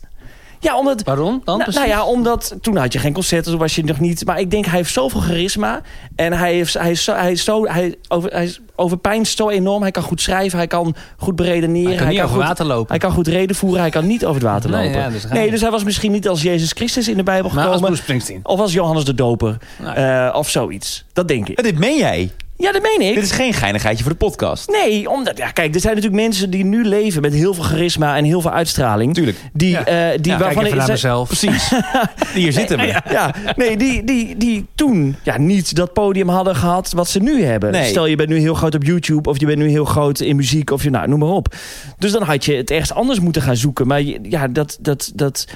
B: Ja, omdat...
C: Waarom dan?
B: Nou, nou ja, omdat toen had je geen concerten, toen was je nog niet. Maar ik denk, hij heeft zoveel charisma. En hij, heeft, hij, is zo, hij, is zo, hij, over, hij is- overpeinst zo enorm. Hij kan goed schrijven, hij kan goed beredeneren.
C: Hij kan niet over
B: goed,
C: water lopen.
B: Hij kan goed reden voeren, hij kan niet over het water
C: Nee,
B: lopen.
C: ja, dus hij-
B: nee, dus hij was misschien niet als Jezus Christus in de Bijbel
C: Maar als
B: gekomen.
C: Bruce Springsteen.
B: Of als Johannes de Doper.
C: Nou
B: eh, of zoiets. Dat denk ik.
A: En dit meen jij.
B: Ja, dat meen ik.
A: Dit is geen geinigheidje voor de podcast.
B: Nee, omdat, ja, kijk, er zijn natuurlijk mensen die nu leven met heel veel charisma en heel veel uitstraling.
A: Tuurlijk.
B: Die, eh,
C: Ja.
B: die
C: Ja, kijk
B: waarvan
C: even
B: ik-
C: naar
B: zij-
C: mezelf.
A: Precies. Hier zitten we.
B: Ja, nee, die, die, die toen ja, niet dat podium hadden gehad wat ze nu hebben.
A: Nee.
B: Stel, je bent nu heel groot op YouTube of je bent nu heel groot in muziek of je, nou, noem maar op. Dus dan had je het ergens anders moeten gaan zoeken. Maar je- ja, dat, dat, dat,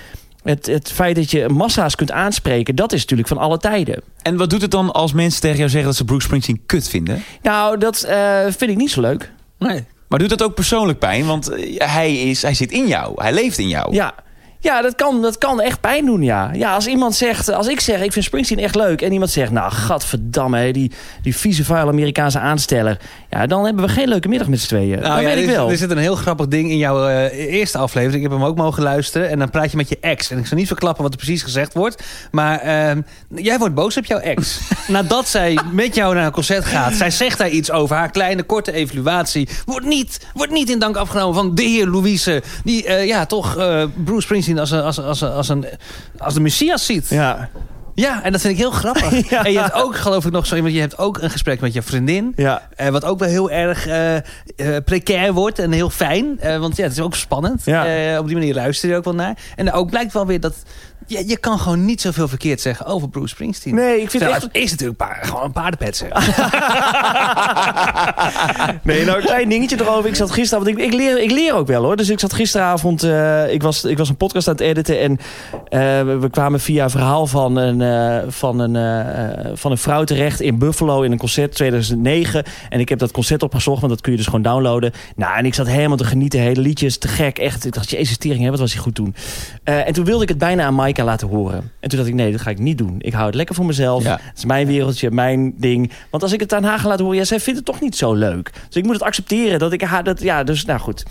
B: het, het feit dat je massa's kunt aanspreken, dat is natuurlijk van alle tijden.
A: En wat doet het dan als mensen tegen jou zeggen dat ze Bruce Springsteen kut vinden?
B: Nou, dat eh, vind ik niet zo leuk.
C: Nee.
A: Maar Maar doet dat ook persoonlijk pijn? Want eh, hij, is, hij zit in jou. Hij leeft in jou.
B: Ja, ja dat, kan, dat kan echt pijn doen, ja. Ja, als iemand zegt, als ik zeg, ik vind Springsteen echt leuk... en iemand zegt, nou, gadverdamme, hè, die, die vieze, vuile Amerikaanse aansteller... ja, dan hebben we geen leuke middag met z'n tweeën. dat
C: Nou ja,
B: weet ik
C: er,
B: wel.
C: Er zit een heel grappig ding in jouw eh, eerste aflevering. Ik heb hem ook mogen luisteren. En dan praat je met je ex. En ik zal niet verklappen wat er precies gezegd wordt. Maar ehm, jij wordt boos op jouw ex. Nadat zij met jou naar een concert gaat. Zij zegt daar iets over. Haar kleine, korte evaluatie. Wordt niet, wordt niet in dank afgenomen van de heer Louise. Die eh, ja, toch eh, Bruce Springsteen als, een, als, een- als, een- als, een, als de messias ziet.
B: Ja,
C: Ja, en dat vind ik heel grappig.
B: Ja.
C: En je hebt ook, geloof ik nog zo iemand, je hebt ook een gesprek met je vriendin.
B: ja,
C: Eh, wat ook wel heel erg eh, eh, precair wordt en heel fijn. Eh, want ja, het is ook spannend.
B: Ja.
C: Eh, op die manier luister je er ook wel naar. En ook blijkt wel weer dat... Je, je kan gewoon niet zoveel verkeerd zeggen over Bruce Springsteen.
B: Nee, ik vind
C: Terwijl
B: echt- Ah,
C: het is natuurlijk pa- gewoon een paardenpet. zeg.
B: Nee, nou, een klein dingetje erover. Ik zat gisteravond... Ik, ik, leer, ik leer ook wel, hoor. Dus ik zat gisteravond... eh, ik, was, ik was een podcast aan het editen. En eh, we- we kwamen via een verhaal van een, eh, van, een, eh, eh, van een vrouw terecht in Buffalo... in een concert 2009. En ik heb dat concert opgezocht, want dat kun je dus gewoon downloaden. Nou, en ik zat helemaal te genieten. Hele liedjes, te gek. Echt, ik dacht, jezus, tering, hè, wat was hij goed toen. Eh, en toen wilde ik het bijna aan Maaika laten horen. En toen dacht ik, nee, dat ga ik niet doen. Ik hou het lekker voor mezelf.
A: Ja.
B: Het is mijn wereldje, mijn ding. Want als ik het aan haar ga laten horen, ja, zij vindt het toch niet zo leuk. Dus ik moet het accepteren dat ik haar dat, ja, dus nou goed.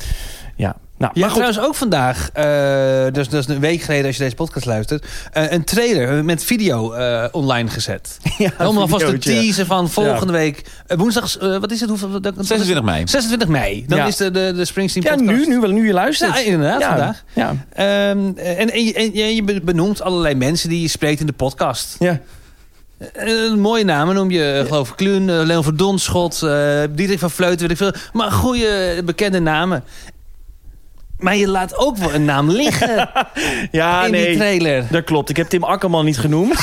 B: Ja, nou,
C: Ja,
B: maar goed.
C: trouwens ook vandaag, eh, dus dat is een week geleden als je deze podcast luistert... eh, een trailer met video eh, online gezet.
B: Ja,
C: Om alvast te
B: videootje.
C: teasen van volgende week. eh, woensdag, eh, wat is het? Hoeveel, dat-
A: 26 mei.
C: 26 mei. Dan
B: Ja.
C: is de, de, de Springsteen
B: Ja,
C: podcast.
B: nu, nu, wel nu je luistert.
C: Ja, inderdaad,
B: ja,
C: vandaag.
B: Ja,
C: Ehm, en, en, je- en je- je be- benoemt allerlei mensen die je spreekt in de podcast.
B: ja.
C: Eh, mooie namen noem je, eh, geloof ik, Kluun, eh, Leon van Donschot, eh Diederik van Vleuten, weet ik veel. Maar goede, eh, bekende namen. Maar je laat ook wel een naam liggen
B: ja
C: in die
B: nee,
C: trailer.
B: dat klopt. Ik heb Tim Akkerman niet genoemd.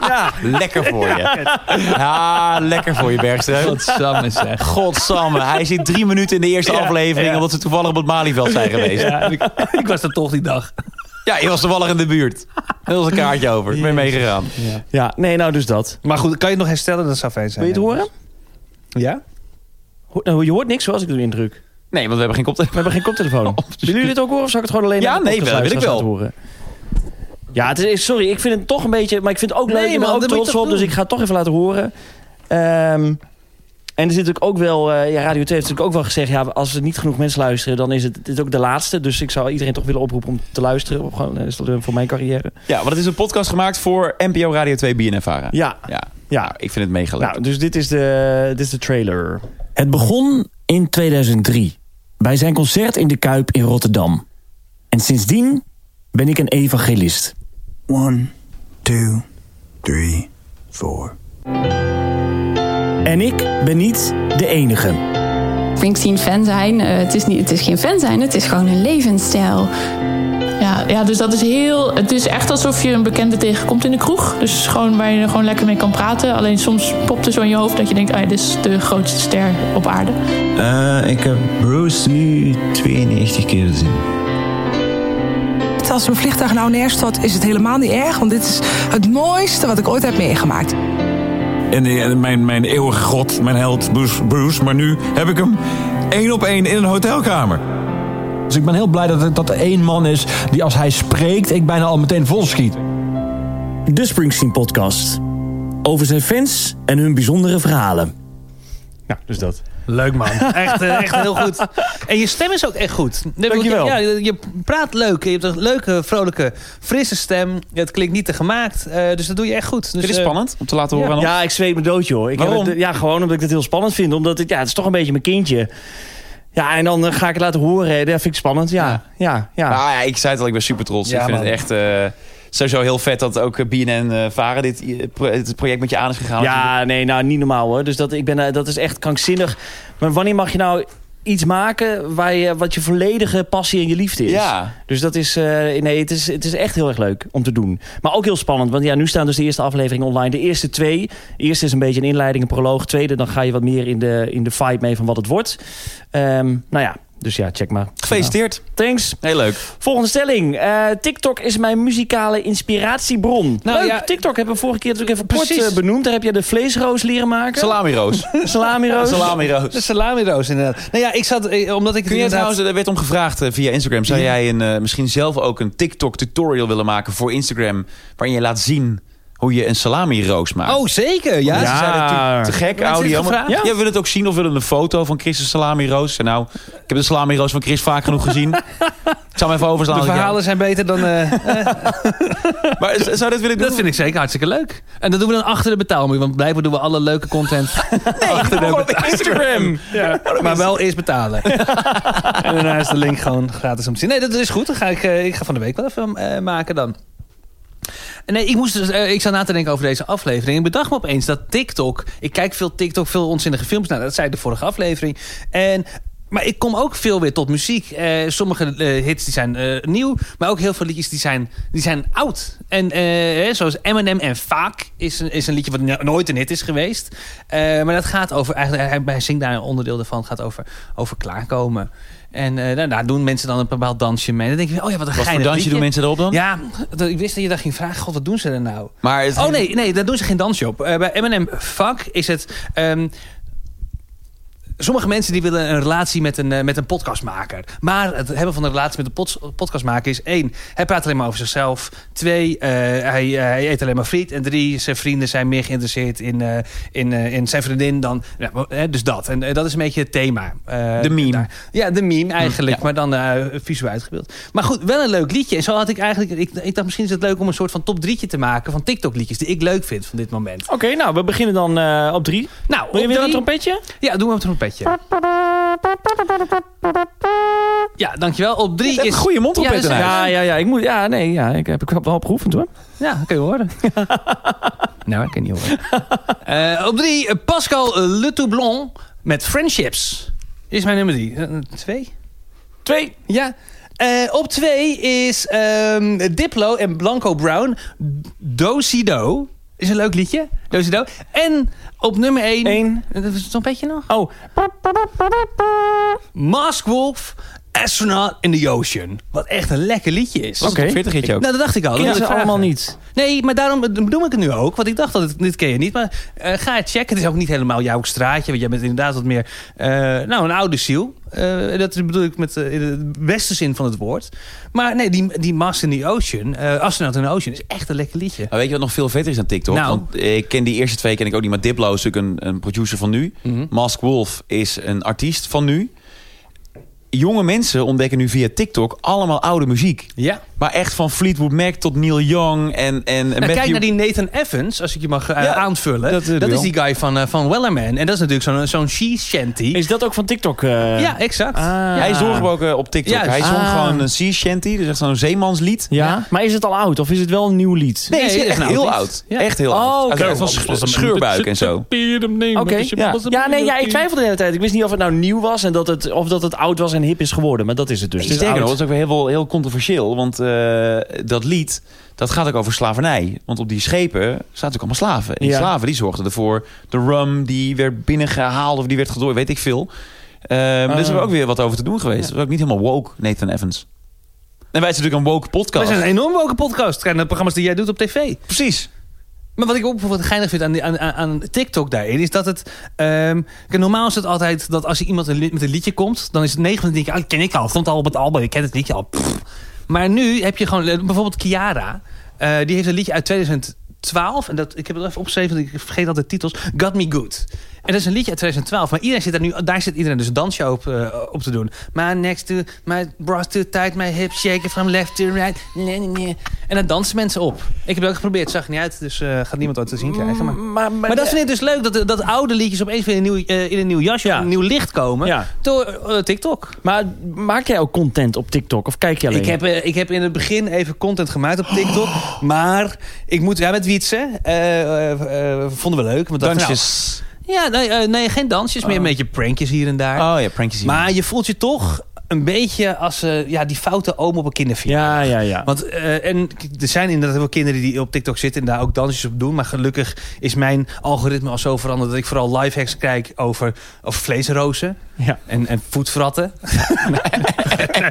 B: ja,
A: Lekker voor je. Ja, lekker voor je, Bergström.
C: Godsamme zeg.
A: Godsamme. Hij zit drie minuten in de eerste aflevering...
B: ja.
A: omdat ze toevallig op het Malieveld zijn geweest. Ja,
C: ik, ik was er toch die dag.
A: je was toevallig in de buurt. Er was een kaartje over. Ik ben meegegaan.
B: ja, nee, nou dus dat.
C: Maar goed, kan je het nog herstellen? Dat zou fijn
B: Wil
C: zijn.
B: je het horen?
C: Ja.
B: Ho- nou, Je hoort niks zoals ik doe indruk. We
A: Nee, want we hebben geen koptelefoon.
B: hebben geen koptelefoon. Willen jullie dit ook horen of zal ik het gewoon alleen
A: Ja,
B: aan de
A: nee, wel, wil ik wel.
B: podcastluisteraars laten horen? Ja, het is, sorry, ik vind het toch een beetje... Maar ik vind het ook
C: Nee,
B: leuk, ik ben
C: man,
B: ook
C: dat moet je
B: trots
C: toch
B: op. Dus
C: doen.
B: ik ga het toch even laten horen. Ehm, en er zit natuurlijk ook wel... eh, ja, Radio 2 heeft natuurlijk ook wel gezegd... Ja, als er niet genoeg mensen luisteren, dan is het dit is ook de laatste. Dus ik zou iedereen toch willen oproepen om te luisteren. Of gewoon, eh, is dat eh, voor mijn carrière.
A: Ja, want het is een podcast gemaakt voor NPO Radio 2 BNNVARA.
B: Ja,
A: Ja. Nou,
B: ja.
A: ik vind het mega leuk.
B: Nou, dus dit is de, dit is de trailer.
E: Het begon in 2003 bij zijn concert in de Kuip in Rotterdam. En sindsdien ben ik een evangelist.
F: One, two, three, four.
E: En ik ben niet de enige.
G: Springsteen fan zijn. eh, het, is niet, het is geen fan zijn, het is gewoon een levensstijl.
H: Ja, ja, dus dat is heel. Het is echt alsof je een bekende tegenkomt in de kroeg. Dus gewoon waar je er gewoon lekker mee kan praten. Alleen soms popt er zo in je hoofd dat je denkt: ah, ja, dit is de grootste ster op aarde.
B: Nou.
F: Eh, ik heb Bruce nu 92 keer gezien.
I: Als mijn vliegtuig nou neerstort, is het helemaal niet erg. Want dit is het mooiste wat ik ooit heb meegemaakt.
J: En eh, mijn, mijn eeuwige god, mijn held Bruce, Bruce. Maar nu heb ik hem één op één in een hotelkamer. Dus ik ben heel blij dat, dat er één man is die als hij spreekt... ik bijna al meteen volschiet.
E: De Springsteen Podcast. Over zijn fans en hun bijzondere verhalen.
B: Nou, dus dat.
C: Leuk man. Echt, eh, echt heel goed. En je stem is ook echt goed. Nee,
B: Dankjewel.
C: Ja, je praat leuk. Je hebt een leuke, vrolijke, frisse stem. Het klinkt niet te gemaakt. eh, dus dat doe je echt goed. Dus,
A: Dit is
C: eh,
A: spannend om te laten horen aan ons.
B: Ja, ik zweet me dood, joh. Ik heb
A: Waarom?
B: het- ja, gewoon omdat ik het heel spannend vind. Omdat het, ja, het is toch een beetje mijn kindje. Ja, en dan eh, ga ik het laten horen. Dat vind ik spannend, ja. ja. ja,
A: Nou ja, ik zei het al, ik ben super trots.
C: Ja,
A: ik vind
C: man.
A: het echt eh, sowieso heel vet dat ook eh, BNN eh, Varen dit eh, pro- het project met je aan is gegaan.
B: Ja, nee, nou niet normaal hoor. Dus dat, ik ben, eh, dat is echt krankzinnig. Maar wanneer mag je nou iets maken waar je, wat je volledige passie en je liefde is?
A: Ja.
B: Dus dat is, eh, nee, het is, het is echt heel erg leuk om te doen. Maar ook heel spannend, want ja, nu staan dus de eerste afleveringen online. De eerste twee. De eerste is een beetje een inleiding, een proloog. Tweede, dan ga je wat meer in de, in de vibe mee van wat het wordt. Ehm, nou ja, Dus ja, check maar.
A: Gefeliciteerd.
B: Thanks.
A: Heel leuk.
B: Volgende stelling. Eh, TikTok is mijn muzikale inspiratiebron.
C: Nou,
B: Leuk,
C: ja.
B: TikTok hebben we vorige keer natuurlijk even kort
C: Precies.
B: eh, benoemd. Daar heb je de vleesroos leren maken.
A: Salamiroos.
B: Salamiroos.
A: Salamiroos.
C: De salami-roos inderdaad. Nou ja, ik zat, eh,
A: Kun
C: omdat ik het
A: jij
C: inderdaad-
A: trouwens, er werd om gevraagd eh, via Instagram. Zou jij een, eh, misschien zelf ook een TikTok-tutorial willen maken voor Instagram... waarin je laat zien hoe je een salami-roos maakt?
C: Oh, zeker, ja.
A: Ja, ze zeiden natuurlijk te gek,
C: Mensen
A: audio.
C: dit
A: Maar,
C: gevraagd?
A: ja. we willen het ook zien of we willen een foto van Chris' salami-roos. Nou, ik heb de salami-roos van Chris vaak genoeg gezien. ik zal hem even overslaan.
C: De
A: als ik jou-
C: verhalen zijn beter dan... eh,
A: Maar z- zou je dit willen doen?
C: dat vind ik zeker hartstikke leuk. En dat doen we dan achter de betaalmuur. Want blijkbaar doen we alle leuke content achter de
A: Op Instagram.
C: betaalmuur. Maar wel eerst betalen. en daarna is de link gewoon gratis om te zien. Nee, dat is goed. Dan ga ik, eh, ik ga van de week wel even eh, maken dan. Nee, ik, moest dus, eh, ik zat na te denken over deze aflevering. Ik bedacht me opeens dat TikTok... Ik kijk veel TikTok, veel onzinnige films. Nou, dat zei de vorige aflevering. En... Maar ik kom ook veel weer tot muziek. Eh, sommige eh, hits die zijn eh, nieuw, maar ook heel veel liedjes die zijn, die zijn oud. En eh, hè, zoals Eminem en Vaak is een, is een liedje wat no- nooit een hit is geweest. Eh, maar dat gaat over, eigenlijk, hij, hij zingt daar een onderdeel daarvan, gaat over, over klaarkomen. En eh, daar, daar doen mensen dan een bepaald dansje mee. Dan denk je, oh ja, wat een
A: Wat voor
C: geinig
A: dansje doen
C: liedje.
A: mensen erop dan?
C: Ja, dat- ik wist dat je daar ging vragen. God, wat doen ze er nou?
A: Maar het-
C: Oh nee, nee, daar doen ze geen dansje op. Eh, bij Eminem Fuck is het... ehm, Sommige mensen die willen een relatie met een, eh, met een podcastmaker. Maar het hebben van een relatie met een pods- podcastmaker is... één, hij praat alleen maar over zichzelf. Twee, eh, hij, eh, hij eet alleen maar friet. En drie, zijn vrienden zijn meer geïnteresseerd in, eh, in, eh, in zijn vriendin dan... Ja, maar, eh, dus dat. En eh, dat is een beetje het thema. eh,
A: De meme.
C: daar. Ja, de meme eigenlijk. Maar dan eh, visueel uitgebeeld. Maar goed, wel een leuk liedje. En zo had ik eigenlijk... Ik, ik dacht misschien is het leuk om een soort van top drietje te maken... van TikTok-liedjes die ik leuk vind van dit moment.
B: Oké, nou, we beginnen dan eh, op drie. Wil
C: Nou,
B: je
C: op
B: weer een
C: drie-
B: trompetje?
C: ja, doen we op het trompetje. Ja, dankjewel. Op drie
A: Je hebt
C: is...
A: een goede mondtrompet in
C: Ja, dat is-
A: huis.
B: Ja, ja, ja. Ik moet, ja, nee, ja. Ik heb ik heb wel op geoefend hoor.
C: Ja, kun je horen. nou, ik kan niet horen. Eh, op drie, eh, Pascal Le Toublon met Friendships. Is mijn nummer drie. Eh, twee?
B: Twee.
C: Ja. Eh, op twee is ehm, Diplo en Blanco Brown. Do-si-do. Is een leuk liedje. Do-si-do. En op nummer één...
B: Eén.
C: Eh, Dat is een beetje nog.
B: Oh,
C: Mask Wolf, Astronaut in the Ocean. Wat echt een lekker liedje is.
A: Dat is een
B: Oké.
A: 40 hitje ook.
C: Nou, dat dacht ik al. Dat
B: kennen
C: wilde
B: ze
C: ik vragen.
B: allemaal niet.
C: Nee, maar daarom bedoel ik het nu ook. Want ik dacht dat het, dit ken je niet. Maar eh, ga het checken. Het is ook niet helemaal jouw straatje. Want jij bent inderdaad wat meer... eh, nou, een oude ziel. Eh, dat bedoel ik met eh, in de beste zin van het woord. Maar nee, die, die Mars in the Ocean... eh Astronaut in the Ocean is echt een lekker liedje.
A: Maar weet je wat nog veel veter is aan TikTok?
C: Nou.
A: Want ik ken die eerste twee ken ik ook niet. Maar Diplo is natuurlijk een, een producer van nu.
C: Mhm.
A: Mask Wolf is een artiest van nu. Jonge mensen ontdekken nu via TikTok allemaal oude muziek.
C: Ja.
A: Maar echt van Fleetwood Mac tot Neil Young en, en
C: Nou,
A: Matthew-
C: kijk naar die Nathan Evans, als ik je mag eh,
A: Ja,
C: aanvullen.
A: dat,
C: Dat,
A: eh, doe
C: is
A: je.
C: die guy van, eh, van Wellerman. En dat is natuurlijk zo'n zo'n she shanty.
B: Is dat ook van TikTok? eh?
C: Ja, exact.
B: Ah.
A: Hij zong ook eh, op TikTok.
C: Juist.
A: Hij zong
B: Ah.
A: gewoon een sea shanty. Dus echt zo'n zeemanslied.
B: Ja? Maar is het al oud of is het wel een nieuw lied?
A: Nee, het is
C: Nee,
A: echt
C: dat is
A: heel
C: een oud
A: oud.
C: lied. Ja.
A: Echt heel
B: Oh,
A: oud.
B: oké.
A: Hij was van scheurbuik en zo.
B: Oké. Ja. ja, nee, ja, ik twijfelde de hele tijd. Ik wist niet of het nou nieuw was en dat het, of dat het oud was en hip is geworden. Maar dat is het dus.
A: Dus
B: Het is
A: Sterker nog,
B: oud.
A: dat is ook weer heel, veel- heel controversieel. Want eh, dat lied, dat gaat ook over slavernij. Want op die schepen zaten natuurlijk allemaal slaven. En die
B: Ja.
A: slaven die zorgden ervoor. De rum die werd binnengehaald of die werd gedooid, weet ik veel. Ehm Dus er
B: Ah.
A: is ook weer wat over te doen geweest. Dat was ook niet helemaal woke, Nathan Evans. En wij zijn natuurlijk een woke
C: We
A: podcast.
C: zijn een enorm woke podcast. Kijk naar de programma's die jij doet op tv.
A: Precies.
C: Maar wat ik ook bijvoorbeeld geinig vind aan, die- aan, aan- aan TikTok daarin... is dat het... ehm, kijk, normaal is het altijd dat als iemand een li- met een liedje komt... dan is het 9 van de denk ik, ken ik al. Stond al op het album, ik ken het liedje al. Pff. Maar nu heb je gewoon... eh, Bijvoorbeeld Kiara. eh, die heeft een liedje uit 2012. En dat, ik heb het even opgeschreven, want ik vergeet altijd titels. Got Me Good. En dat is een liedje uit 2012. Maar iedereen zit daar nu... Daar zit iedereen dus een dansje op, eh, op te doen. My next to... My bras to tight. My hips shaken from left to right. Nee, nee, nee. En daar dansen mensen op. Ik heb het ook geprobeerd. Zag er niet uit. Dus eh, gaat niemand ooit te zien krijgen. Maar, maar,
B: Mm, maar, maar,
C: dat vind ik dus leuk. Dat, dat oude liedjes opeens weer in een nieuw, eh, in een nieuw jasje.
B: Ja.
C: Een nieuw licht komen.
B: Ja.
C: Door eh, TikTok.
B: maar maak jij ook content op TikTok of kijk je alleen?
C: Ik heb, eh, ik heb in het begin even content gemaakt op TikTok. Maar ik moet... Ja, met Wietse. eh, eh, eh, vonden we leuk. want dat-
A: Dansjes.
C: Oh. nou, ja, nee, eh, nee, geen dansjes. Meer een beetje prankjes hier en daar.
A: Oh ja, prankjes. hier.
C: Maar je voelt je toch een beetje als eh, ja, die foute oom op een kinderfeest.
B: Ja, ja, ja.
C: Want, eh, en k- er zijn inderdaad wel kinderen die op TikTok zitten en daar ook dansjes op doen. Maar gelukkig is mijn algoritme al zo veranderd dat ik vooral lifehacks kijk over, over vleesrozen
B: Ja.
C: en, en voetvratten. nee,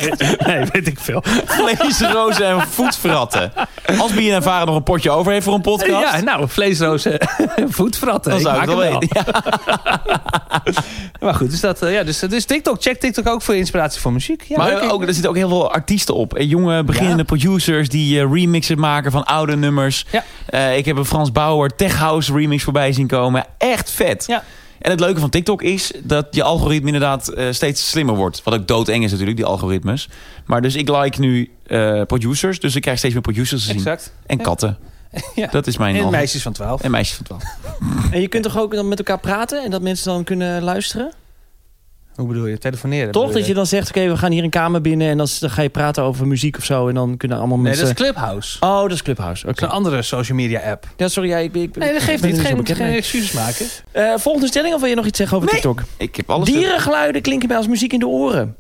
C: nee, weet ik veel.
A: Vleesrozen en voetvratten. Als BNN ervaren nog een potje over heeft voor een podcast.
C: Ja, nou, vleesrozen en voetvratten.
A: Dan
C: Ik
A: zou ik
C: maak
A: het wel
C: hem Maar goed, dus, dat, eh, ja, dus, dus TikTok. Check TikTok ook voor inspiratie voor muziek. Ja,
A: maar
C: leuk.
A: ook, er zitten ook heel veel artiesten op. En jonge beginnende producers die eh, remixen maken van oude nummers.
C: Ja.
A: Eh, ik heb een Frans Bauer Tech House remix voorbij zien komen. Echt vet.
C: Ja.
A: En het leuke van TikTok is dat je algoritme inderdaad eh, steeds slimmer wordt. Wat ook doodeng is natuurlijk, die algoritmes. Maar dus ik like nu eh, producers. Dus ik krijg steeds meer producers te zien.
C: Exact.
A: En
C: Ja.
A: katten.
C: Ja.
A: Dat is mijn
C: En
A: algoritme.
C: meisjes van 12.
A: En meisjes van 12.
B: En je kunt toch ook dan met elkaar praten en dat mensen dan kunnen luisteren?
C: Hoe bedoel je? Telefoneren?
B: Toch?
C: bedoel
B: Dat je dan zegt, oké, we gaan hier een kamer binnen en dan, s- dan ga je praten over muziek of zo. En dan kunnen allemaal
C: Nee, dat
B: mensen...
C: is Clubhouse.
B: Oh, dat is Clubhouse. Oké.
C: Dat is een andere social media app.
B: Ja, sorry, jij... ik, ik,
C: Nee, dat
B: ik
C: geeft
B: ben
C: niet.
B: er zo
C: Geen,
B: bekend
C: geen
B: mee.
C: excuses maken.
B: Eh, volgende stelling of wil je nog iets zeggen over
A: Nee.
B: TikTok?
A: Ik heb alles.
B: Dierengeluiden klinken mij als muziek in de oren.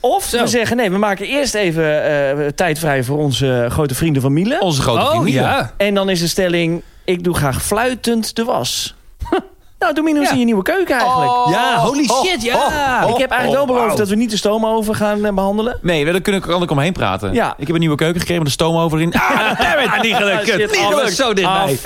B: Of we zeggen, nee, we maken eerst even eh, tijd vrij voor onze eh, grote vrienden van Miele.
A: Onze grote
C: Oh
A: vriendin.
C: ja.
B: En dan is de stelling, ik doe graag fluitend de was. nou, Domino, hoe
C: Ja.
B: is in je nieuwe keuken eigenlijk?
A: Oh.
C: Ja, holy shit, ja.
B: ik heb eigenlijk wel
C: oh.
B: beloofd dat we niet de stoomoven gaan eh, behandelen.
A: Nee, daar kan ik, kan ik omheen praten.
B: Ja.
A: Ik heb een nieuwe keuken gekregen met een stoomover in. Ah, damn it! niet gelukt.
B: Shit,
A: Niet
B: af.
A: gelukt.
C: Zo dichtbij.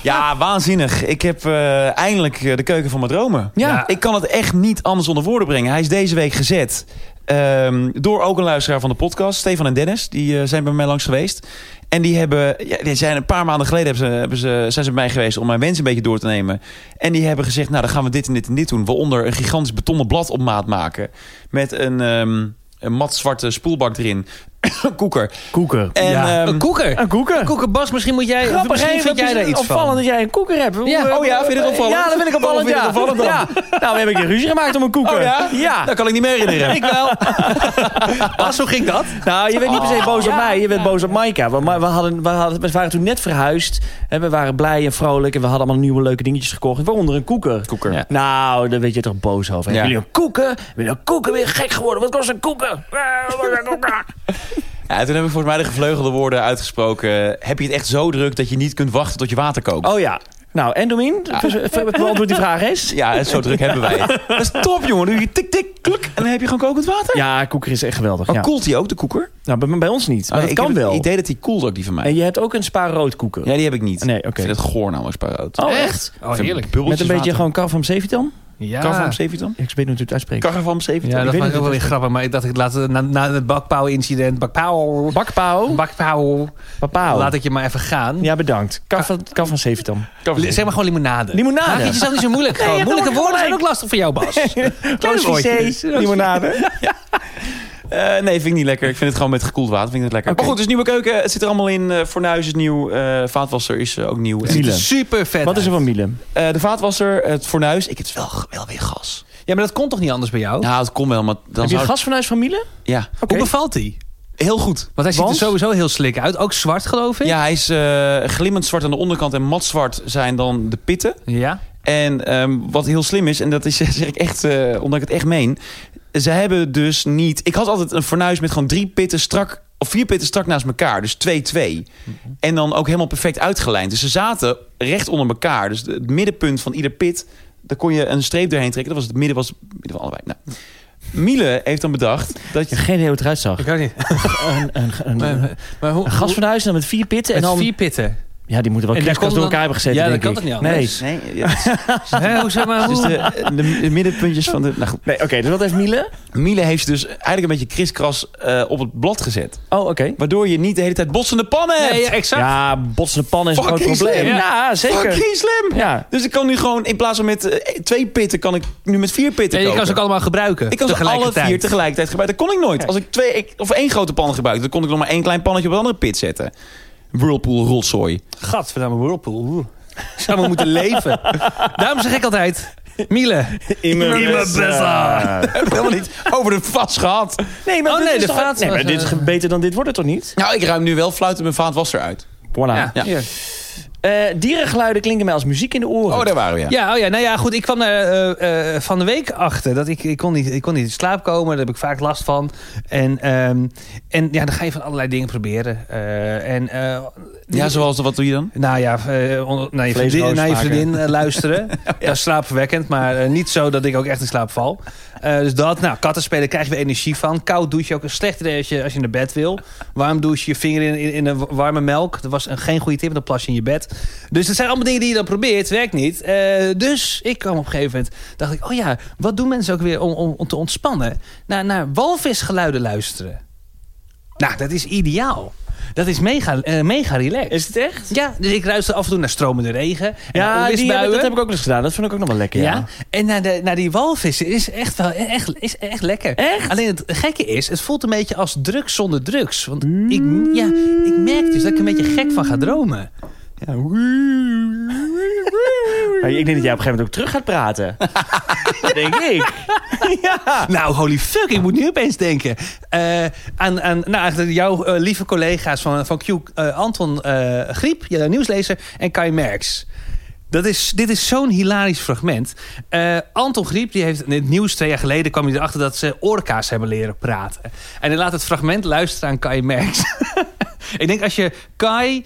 A: Ja, waanzinnig. Ik heb eh, eindelijk eh, de keuken van mijn dromen.
C: Ja.
A: Ik kan het echt niet anders onder woorden brengen. Hij is deze week gezet ehm, door ook een luisteraar van de podcast. Stefan en Dennis, die eh, zijn bij mij langs geweest. En die hebben, ja, die zijn een paar maanden geleden hebben ze, hebben ze, zijn ze bij mij geweest om mijn wens een beetje door te nemen. En die hebben gezegd, nou dan gaan we dit en dit en dit doen. Waaronder een gigantisch betonnen blad op maat maken. Met een, ehm een mat zwarte spoelbak erin. Koeker.
B: Koeker.
A: En,
C: Ja.
A: ehm,
C: Een koeker.
B: Een koeker.
C: Koeker Bas, misschien moet jij.
B: Grappig,
C: misschien
B: hè?
C: vind
B: Dat
C: jij
B: is
C: daar iets
B: opvallend
C: van.
B: dat jij een koeker hebt. Hoe,
C: Ja.
B: eh,
A: Oh ja, vind je dat opvallend?
B: Ja, dat vind ik opvallend,
A: Oh, vind je
B: ja.
A: dat opvallend dan?
B: Ja. Nou, we hebben een keer ruzie gemaakt om een koeker.
A: Oh ja?
B: Ja.
A: Dat kan ik niet meer herinneren.
C: Ik wel. Bas, hoe Ah, ging dat? Oh,
B: Nou, je bent niet per se boos op mij, je bent boos op Maika. Want Ma- we, hadden, we, hadden, we waren toen net verhuisd. En we waren blij en vrolijk. En we hadden allemaal nieuwe leuke dingetjes gekocht. Waaronder een koeker.
A: Koeker. Ja.
B: Nou, daar weet je toch boos over.
A: Ja.
B: Hebben jullie een koeker? Ben je een koeker weer gek geworden? Wat kost een koeker? Eh, wat kost een koeker?
A: Ja, toen hebben we volgens mij de gevleugelde woorden uitgesproken. Heb je het echt zo druk dat je niet kunt wachten tot je water kookt?
B: oh ja. Nou, en Domien? Beantwoord die vraag eens.
A: Ja, zo druk hebben wij het. Dat is top, jongen. Doe je tik, tik, kluk. En dan heb je gewoon kokend water.
B: Ja, koeker is echt geweldig.
A: Maar
B: ja.
A: koelt die ook, de koeker?
B: Nou, bij, bij ons niet. Maar
A: Oh,
B: dat
A: ik
B: kan
A: heb
B: wel.
A: Het idee dat die koelt ook, die van mij.
B: En je hebt ook een spa rood koeker.
A: Ja, die heb ik niet.
B: Nee, oké.
A: Ik vind het goor nou namelijk spaarrood.
B: Oh, echt?
C: Oh, heerlijk.
B: Met een beetje gewoon kar van Sevitan?
C: Ja.
A: Karvam 17?
B: Ik weet niet hoe het uitspreekt.
A: Karvam 17?
C: Ja,
B: Ik
C: dat
B: weet
C: was
B: het
C: ook wel weer grappig. Maar ik dacht, ik laat het na, na het bakpauw-incident. Bakpauw.
B: Bakpao.
C: Bakpauw.
B: Papao.
C: Laat ik je maar even gaan.
B: Ja, bedankt. Kaf van, kaf van Sevitan.
C: Li- Zeg maar gewoon limonade.
B: Limonade.
C: Maak het jezelf niet zo moeilijk. gewoon.
B: dat
C: Moeilijke
B: moet je
C: woorden zijn ook
B: gelijk.
C: lastig voor jou, Bas.
B: Roos
C: woordjes.
B: Vissé, limonade.
A: Eh, nee, vind ik niet lekker. Ik vind het gewoon met gekoeld water. Vind ik het lekker. Maar goed, dus nieuwe keuken. Het zit er allemaal in. Eh fornuis is nieuw. eh, vaatwasser is eh, ook nieuw. En,
B: Miele.
C: Super vet.
B: Wat is er van Miele?
A: eh, de vaatwasser, het fornuis. Ik heb het wel, wel weer gas.
C: Ja, maar dat kon toch niet anders bij jou?
A: Nou, het komt wel, maar dan
B: Heb je
A: zou
B: een
A: ik-
B: gast van huis van Miele?
A: Ja,
B: Oké.
C: Hoe bevalt hij?
A: heel goed.
C: Want hij ziet
B: Want?
C: er sowieso heel slik uit. Ook zwart, geloof ik.
A: Ja, hij is eh, glimmend zwart aan de onderkant en mat zwart zijn dan de pitten.
C: ja.
A: En ehm, wat heel slim is, en dat is, zeg ik echt, eh, omdat ik het echt meen. Ze hebben dus niet... Ik had altijd een fornuis met gewoon drie pitten strak... Of vier pitten strak naast elkaar, dus 2-2. En dan ook helemaal perfect uitgelijnd. Dus ze zaten recht onder elkaar. Dus de- het middenpunt van ieder pit, daar kon je een streep doorheen trekken. Dat was het midden, was het midden van allebei. Nou, Miele heeft dan bedacht dat je...
B: Geen idee hoe het eruit zag.
C: Ik ook niet.
B: Een, een, een,
C: Maar,
B: een,
C: maar hoe,
B: gast van huis en dan met vier pitten. En dan,
C: vier pitten.
B: Ja, die moeten wel
C: En daar
B: kriskast
C: kon
B: door
C: dan-
B: elkaar hebben gezeten,
C: Ja, dat
B: denk
C: kan
B: ik.
C: toch niet
B: Nee.
C: anders?
A: Nee, ja,
C: Hè, hoe zeg maar,
A: dus
C: hoe?
A: de, de, de middenpuntjes van de... Nou goed,
B: Nee, oké, dus wat heeft Miele?
A: Miele heeft ze dus eigenlijk een beetje kriskras eh, op het blad gezet.
B: Oh, oké.
A: Waardoor je niet de hele tijd botsende pannen hebt.
C: Nee, ja, exact.
B: Ja, botsende pannen is een groot
A: Fucking
B: probleem.
A: slim.
B: Ja, zeker.
A: Fucking slim.
B: Ja.
A: Dus ik kan nu gewoon, in plaats van met eh, twee pitten, kan ik nu met vier pitten
C: En je kan
A: koken.
C: ze ook allemaal gebruiken.
A: ik kan ze alle
C: tegelijkertijd.
A: vier tegelijkertijd gebruiken. Dat kon ik nooit. Als ik twee ik- of één grote pan gebruikte, dan kon ik nog maar één klein pannetje op een andere pit zetten. Whirlpool rotzooi.
C: Gadverdamme, whirlpool. Oeh. Ik zou maar moeten leven. Daarom zeg ik altijd... Miele.
B: In mijn
C: eh,
A: Helemaal niet over de vast gehad.
B: Nee, maar,
C: Oh,
B: dit,
C: nee,
B: is
C: de
B: toch-
C: vaat
B: nee, maar
C: was,
B: dit is
C: eh,
B: beter dan dit wordt het toch niet?
A: Nou, ik ruim nu wel fluiten mijn vaatwasser uit.
B: Voilà.
C: Ja,
A: Ja.
C: hier.
B: Eh, dierengeluiden klinken mij als muziek in de oren.
A: Oh, daar waren we, ja.
C: Ja, oh ja, nou ja, goed. Ik kwam daar eh, eh, van de week achter. Dat ik, ik, kon niet, ik kon niet in slaap komen. Daar heb ik vaak last van. En, ehm, en ja, dan ga je van allerlei dingen proberen. Eh, en, eh,
A: Ja, zoals wat doe je dan?
C: Nou ja, eh, on- naar je
A: Vleesroos
C: vriendin, naar je
A: maken.
C: vriendin eh, luisteren. Dat is slaapverwekkend, maar eh, niet zo dat ik ook echt in slaap val. Eh, dus dat, nou, katten spelen krijg je weer energie van. Koud douche je ook een slecht idee als je, als je naar bed wil. Warm douche je vinger in, in, in een warme melk. Dat was een, geen goede tip, want dan plas je in je bed. Dus dat zijn allemaal dingen die je dan probeert, werkt niet. Eh, dus ik kwam op een gegeven moment, dacht ik, oh ja, wat doen mensen ook weer om, om, om te ontspannen? Naar, naar walvisgeluiden luisteren. Nou, dat is ideaal. Dat is mega, eh, mega relaxed.
B: Is het echt?
C: Ja, dus ik ruister af en toe naar stromende regen. En
B: Ja,
C: naar
B: die heb ik-
C: onweersbuien.
B: dat heb ik ook nog eens gedaan. Dat vond ik ook nog wel lekker.
C: ja.
B: Ja.
C: en naar, de, naar die walvissen is echt, wel, echt, is echt lekker.
B: Echt?
C: Alleen het gekke is, het voelt een beetje als drugs zonder drugs. Want ik,
B: Mm.
C: ja, ik merk dus dat ik een beetje gek van ga dromen. Ja.
B: Maar ik denk dat jij op een gegeven moment ook terug gaat praten. dat denk ik. ja.
C: Nou, holy fuck, ik moet nu opeens denken. Eh, aan, aan nou, eigenlijk jouw eh, lieve collega's van, van Q, eh, Anton eh, Griep, je nieuwslezer, en Kai Merks. Dat is, dit is zo'n hilarisch fragment. Eh, Anton Griep die heeft in het nieuws twee jaar geleden... kwam hij erachter dat ze orka's hebben leren praten. En hij laat het fragment luisteren aan Kai Merks. Ik denk als je Kai,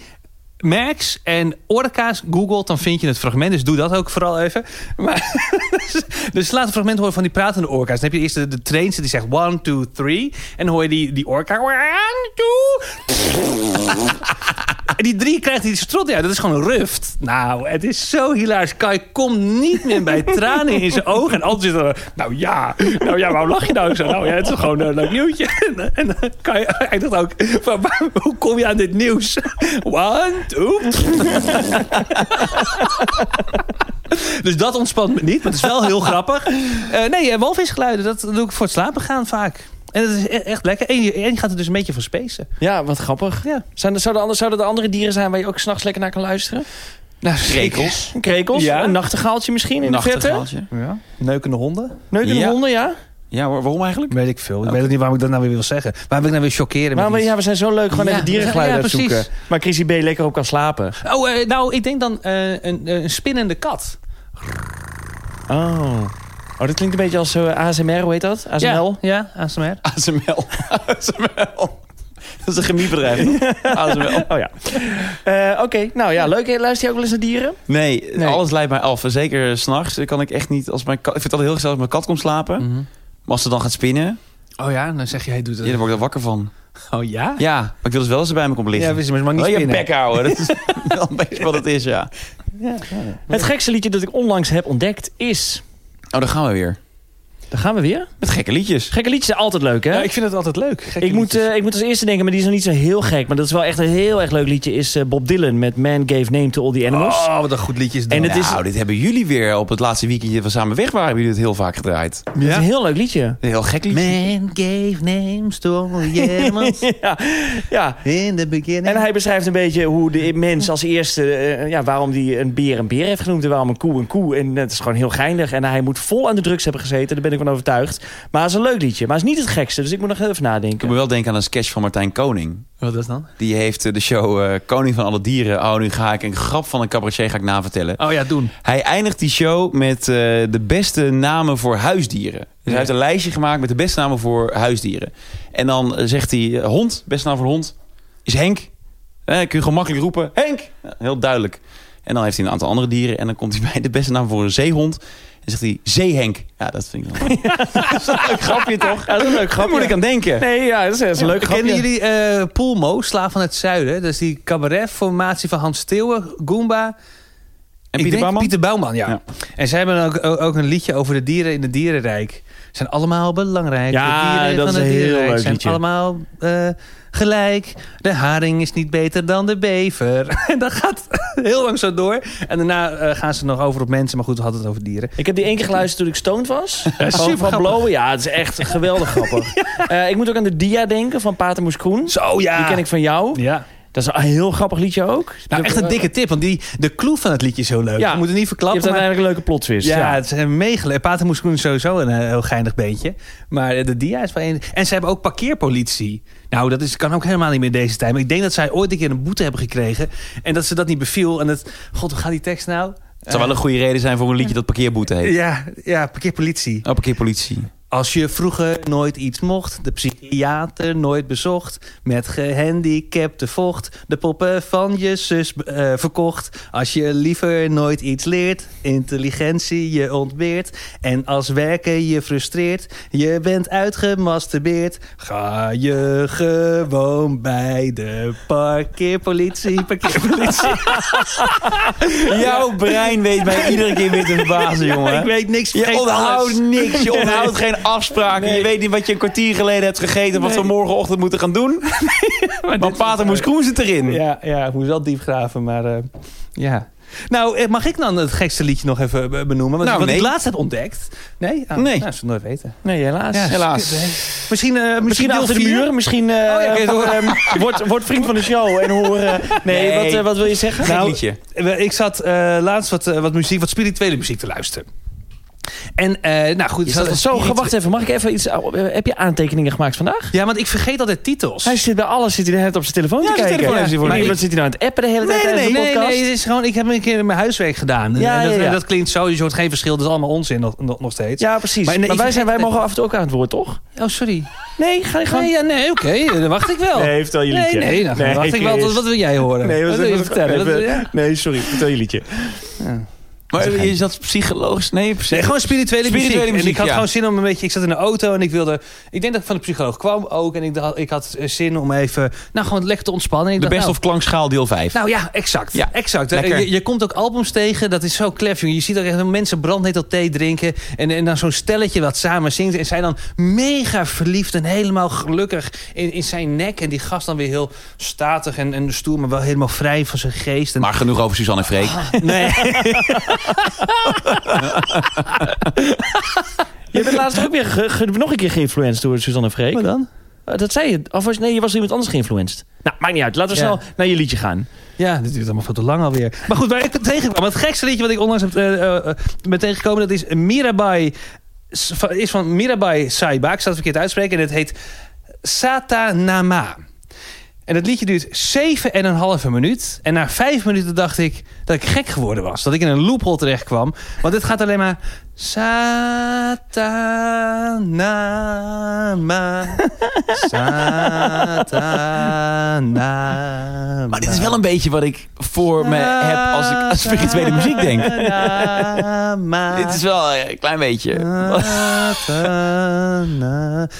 C: Max en Orka's googelt, dan vind je het fragment. Dus doe dat ook vooral even. Maar, dus, dus laat het fragment horen van die pratende orka's. Dan heb je eerst de, de trainster die zegt one, two, three. En dan hoor je die, die orka. One, two. en die drie krijgt die strot. Ja, dat is gewoon een ruft. Nou, het is zo hilarisch. Kai komt niet meer bij tranen in zijn ogen. En altijd zit er... Nou ja, nou ja, waarom lach je nou zo? Nou ja, het is gewoon een leuk nieuwtje. En, en eh, Kai eindigt ook... Van, waar- hoe kom je aan dit nieuws? One, two... Dus dat ontspant me niet, maar het is wel heel grappig. Eh, nee, eh, walvisgeluiden, dat doe ik voor het slapen gaan vaak. En dat is e- echt lekker. En je, en je gaat er dus een beetje van spacen.
B: ja, wat grappig.
C: Ja.
B: Zijn er, zouden, er, zouden er andere dieren zijn waar je ook s'nachts lekker naar kan luisteren?
C: Nou,
A: Krekels.
B: Krekels?
C: Ja.
B: Een nachtegaaltje misschien in de verte?
A: Nachtegaaltje.
C: Ja. Neukende honden?
B: Neukende
A: Ja.
B: honden, ja?
A: Ja, waar- waarom eigenlijk?
C: Weet ik veel. Ik weet ook niet waarom ik dat nou weer wil zeggen. Waarom wil ik nou weer chockeren
B: Maar
C: met
B: we, ja, we zijn zo leuk gewoon
C: Ja,
B: even dierengeluiden
C: ja,
B: aan het
C: precies.
B: zoeken. Maar Chrissy B. lekker op kan slapen.
C: iets? Oh, eh, nou, ik denk dan eh, een, een spinnende kat.
B: Oh. Oh, dat klinkt een beetje als zo eh, ASMR, hoe heet dat? ASML?
C: Ja, ja ASMR.
A: ASML. ASML. Dat is een chemiebedrijf. ASML.
B: Oh ja. Eh, Oké, nou ja, leuk. Luister je ook wel eens naar dieren?
A: Nee,
B: Nee.
A: alles leidt mij af. En Zeker s'nachts kan ik echt niet... Als mijn kat, ik vind het altijd heel gezellig als mijn kat komt slapen. Maar als ze dan gaat spinnen,
C: Oh ja, dan zeg je, hij doet
A: Mhm. ja, dan
C: dat.
A: word ik er wakker van.
C: Oh ja?
A: Ja, maar ik wil dus wel eens bij me komt
C: Ja,
A: liggen.
C: precies, maar ze mag niet
A: Wil Oh, je
C: spinnen.
A: bek houden. Dat is wel een beetje wat het is, ja.
B: Het gekste liedje dat ik onlangs heb ontdekt is...
A: Oh, daar gaan we weer.
B: Daar gaan we weer.
A: Met gekke liedjes.
B: Gekke liedjes zijn altijd leuk, hè?
C: Ja,
B: ik
C: ik vind het altijd leuk. Gekke
B: moet,
C: liedjes.
B: eh, ik moet als eerste denken, maar die is nog niet zo heel gek. Maar dat is wel echt een heel erg leuk liedje. Is eh, Bob Dylan met Man Gave Name to All the Animals.
C: Oh, wat een goed liedje is dat.
B: En het
A: nou,
B: is-
A: dit hebben jullie weer op het laatste weekendje van Samen Weg waren. Hebben jullie het heel vaak gedraaid.
B: Dat is een heel leuk liedje.
A: Een heel gek liedje.
C: Man gave names to all animals
B: ja, ja.
C: in the beginning.
B: En hij beschrijft een beetje hoe de mens als eerste... eh, ja, waarom hij een beer een beer heeft genoemd en waarom een koe een koe. En het is gewoon heel geinig. En hij moet vol aan de drugs hebben gezeten, daar ben ik van overtuigd. Maar het is een leuk liedje. Maar het is niet het gekste, dus ik moet nog even
A: Ik moet
B: nadenken.
A: wel denken aan een sketch van Martijn Koning.
C: Wat is dan?
A: Die heeft eh, de show eh, Koning van alle dieren. Oh, nu ga ik een grap van een cabaretier ga ik navertellen.
C: Oh ja, doen.
A: Hij eindigt die show met eh, de beste namen voor huisdieren. Dus hij heeft een lijstje gemaakt met de beste namen voor huisdieren. En dan eh, zegt hij, eh, hond, beste naam voor hond, is Henk. Eh, kun je gewoon makkelijk roepen, Henk. Ja, heel duidelijk. En dan heeft hij een aantal andere dieren. En dan komt hij bij de beste naam voor een zeehond. En zegt hij, zeehenk. Ja, dat vind ik dan... dat is een leuk grapje, toch?
B: Ja, dat is een leuk
A: Daar
B: grapje.
A: moet ik aan denken.
B: Nee, ja, dat is, dat is een leuk grapje.
C: Kennen jullie eh Pulmo, Slaaf van het Zuiden? Dat is die cabaret-formatie van Hans Steeuwen, Goomba...
A: En Pieter Bouwman?
C: Pieter Bouwman, ja.
A: Ja.
C: En zij hebben ook, ook, ook een liedje over de dieren in het dierenrijk. Zijn allemaal belangrijk.
B: Ja,
C: de dieren
B: dat is
C: van het
B: een heel
C: dierenrijk
B: leuk
C: zijn
B: liedje.
C: allemaal eh, gelijk. De haring is niet beter dan de bever. En dat gaat heel lang zo door. En daarna eh, gaan ze nog over op mensen. Maar goed, we hadden het over dieren.
B: Ik heb die één keer geluisterd toen ik stoned was. Gewoon van
C: super grappig.
B: blowen. Ja, het is echt geweldig grappig. Eh, ik moet ook aan de dia denken van Pater Moes Kroen.
C: Zo, ja.
B: Die ken ik van jou.
C: Ja.
B: Dat is een heel grappig liedje ook.
C: Nou, echt een dikke tip, want die, de clue van het liedje is heel leuk.
B: Ja.
C: Je moet het niet verklappen.
B: Je hebt uiteindelijk een leuke plot twist.
C: Ja,
B: Ja.
C: het is een meegele. Pater Moeskoen is sowieso een eh, heel geinig beentje. Maar eh, de dia is wel een... En ze hebben ook parkeerpolitie. Nou, dat is, kan ook helemaal niet meer in deze tijd. Maar ik denk dat zij ooit een keer een boete hebben gekregen. En dat ze dat niet beviel. En dat... God, hoe gaat die tekst nou?
A: Het zou wel een goede reden zijn voor een liedje dat parkeerboete heet.
C: Ja, ja, parkeerpolitie.
A: Oh, parkeerpolitie.
C: Als je vroeger nooit iets mocht, de psychiater nooit bezocht, met gehandicapte vocht, de poppen van je zus eh, verkocht. Als je liever nooit iets leert, intelligentie je ontbeert en als werken je frustreert, je bent uitgemasturbeerd. Ga je gewoon bij de parkeerpolitie, parkeerpolitie.
A: Jouw brein weet mij iedere keer weer te verbazen, jongen.
C: Ik weet niks.
A: je
C: vergeet
A: onthoudt
C: alles.
A: niks. Je onthoudt geen afspraken. Je weet niet wat je een kwartier geleden hebt gegeten. Wat we morgenochtend moeten gaan doen. maar Pater Moes Kroen zit erin.
C: Ja, ja, ik moest wel diep graven, maar eh, ja. Nou, eh, mag ik dan het gekste liedje nog even eh, benoemen? Want
A: Nou,
C: wat
A: nee.
C: ik laatst heb ontdekt. Nee? Ah,
A: Nee.
C: Nou, dat ze nooit weten.
B: Nee, helaas.
C: Ja,
A: Helaas.
C: nee. Misschien, eh misschien,
B: Misschien
C: deel
B: achter de
C: vier? Oh
B: muur. Misschien eh
C: ja, oké, door.
B: ehm, word, word vriend van de show en hoor... eh, nee,
A: Nee.
B: Wat, eh, wat wil je zeggen?
A: Gek
C: Nou,
A: liedje.
C: Eh, Ik zat eh, laatst wat, eh, wat muziek, wat spirituele muziek te luisteren. En, eh, nou goed.
B: Is
C: ik
B: dat
C: zat
B: zo,
C: spiritu-
B: wacht even. Mag ik even iets...
C: oh,
B: eh, Heb je aantekeningen gemaakt vandaag?
C: Ja, want ik vergeet altijd titels.
B: Hij zit bij alles zit hij de hele tijd op zijn telefoon
A: Ja,
B: te
A: zijn
B: kijken.
A: telefoon heeft hij voor
B: Maar
A: mij.
B: wat zit hij nou aan het appen de hele tijd
C: Nee, nee,
B: tijdens de
C: nee, nee,
B: podcast?
C: nee, het is gewoon, ik heb een keer mijn huiswerk gedaan. En,
B: Ja,
C: en dat,
B: ja, ja.
C: en dat klinkt sowieso het geen verschil. Dat is allemaal onzin nog, nog nog steeds.
B: Ja, precies. Maar,
C: Maar nee, ik
B: wij, zijn, wij
C: vergeet-
B: mogen af en toe ook aan het woord, toch?
C: Oh, sorry.
B: Nee, ga je gang.
C: Nee, ja, nee oké. eh, Dan wacht ik wel.
B: vertel je
C: Nee, nee, dan wacht ik wel. Wat, wat wil jij horen? wat wil je vertellen? Wat wil jij?
B: nee, sorry. Vertel je liedje.
A: Maar is dat psychologisch? Nee, precies.
C: Nee, gewoon spirituele,
A: Spirituele
C: muziek. En
A: muziek,
C: ik had
A: ja.
C: gewoon zin om een beetje... Ik zat in de auto en ik wilde... Ik denk dat ik van de psycholoog kwam ook. En ik, dacht- ik had eh, zin om even... Nou, gewoon lekker te ontspannen. Ik
A: De
C: dacht,
A: Best
C: nou,
A: of Klankschaal deel 5.
C: Nou ja, exact.
A: Ja,
C: exact. Eh,
A: lekker.
C: Je, je komt ook albums tegen. Dat is zo klef, jongen. Je ziet ook echt mensen brandnetel thee drinken. En, en dan zo'n stelletje wat samen zingt. En zijn dan mega verliefd en helemaal gelukkig in, in zijn nek. En die gast dan weer heel statig en, en stoer. Maar wel helemaal vrij van zijn geest. En
A: maar genoeg over Suzanne en
C: Ah,
A: Freek.
C: Nee.
B: Je bent laatst ook weer ge- ge- nog een keer geïnfluenced door Suzanne Freek.
C: Wat dan?
B: Eh, Dat zei je. Of was, nee, je was door iemand anders geïnfluenced. Nou, maakt niet uit. Laten we
C: Ja.
B: snel naar je liedje gaan.
C: Ja, dit duurt allemaal veel te lang alweer. Maar goed, waar ik het tegenkwam. Het gekste liedje wat ik onlangs heb, eh, eh, eh, ben tegengekomen... dat is Mirabai... s- van- is van Mirabai Saiba. Ik zal het verkeerd uitspreken. En het heet Satanama. En dat liedje duurt 7,5 minuut. En na 5 minuten dacht ik dat ik gek geworden was. Dat ik in een loophole terecht kwam. Want dit gaat alleen maar... Satanama. Satanama.
A: Maar dit is wel een beetje wat ik voor me
C: Ah.
A: heb als ik aan spirituele muziek denk. Dit is wel eh, een klein beetje.
C: Ah.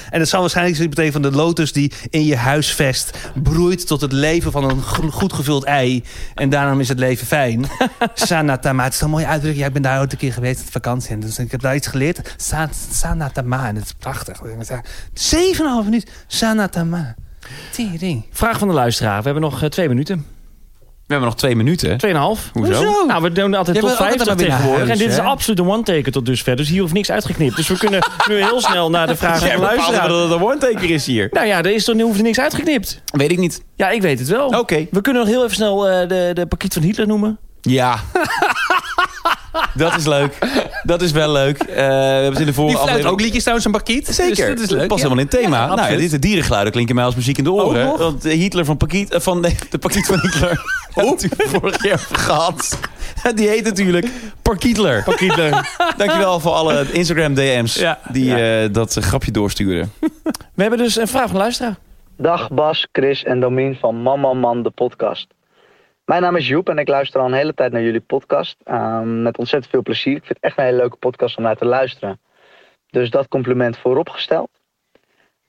C: En dat zal waarschijnlijk zoiets betekenen van de lotus die in je huisvest broeit tot het leven van een gro- goed gevuld ei. En daarom is het leven fijn. Sanatama. Het is een mooie uitdrukking. Ja, ik ben daar ooit een keer geweest op vakantie. En dus ik heb daar iets geleerd. Sa- Sanatama. En dat is prachtig. 7,5 minuut. Sanatama. Tering.
B: Vraag van de luisteraar. We hebben nog eh, twee minuten.
A: We hebben nog twee minuten.
B: Tweeënhalf.
A: Hoezo? Hoezo?
B: Nou, we doen altijd
C: Jij
B: tot
C: bent
B: vijf tot
C: altijd maar weer naar
B: tegenwoordig. en
C: huis,
B: dit is
C: hè?
B: absoluut een one-taker tot dusver. Dus hier hoeft niks uitgeknipt. Dus we kunnen nu heel snel naar de vraag van
A: Jij
B: de
A: bepaalt
B: luisteraar.
A: dat het een woordteken is hier.
B: Nou ja, er is toch nu hoeft er niks uitgeknipt.
A: Weet ik niet.
B: Ja, ik weet het wel.
A: Oké.
B: We kunnen nog heel even snel eh, de, de pakiet van Hitler noemen.
A: Ja. dat is leuk. Dat is wel leuk. Eh, we hebben het in de vorige
C: Die fluit
A: aflevering...
C: ook liedjes trouwens een parkiet.
A: Zeker.
C: Dus dat is leuk.
A: Past
C: ja. Oh,
A: helemaal in het thema. nou, dit, de dierengeluiden klinken mij als muziek in de oren.
C: nog?
A: want eh, Hitler van Pakiet... eh, Van, nee, de Pakiet van Hitler. Hoe? Vorig keer over gehad. Die heet natuurlijk Parkietler. Parkietler. Dankjewel voor alle Instagram DM's
B: Ja,
A: die eh, dat eh, grapje doorsturen.
B: We hebben dus een vraag van de luisteraar.
K: Dag Bas, Chris en Domien van Mama Man, de podcast. Mijn naam is Joep en ik luister al een hele tijd naar jullie podcast. ehm, met ontzettend veel plezier. Ik vind het echt een hele leuke podcast om naar te luisteren. Dus dat compliment vooropgesteld.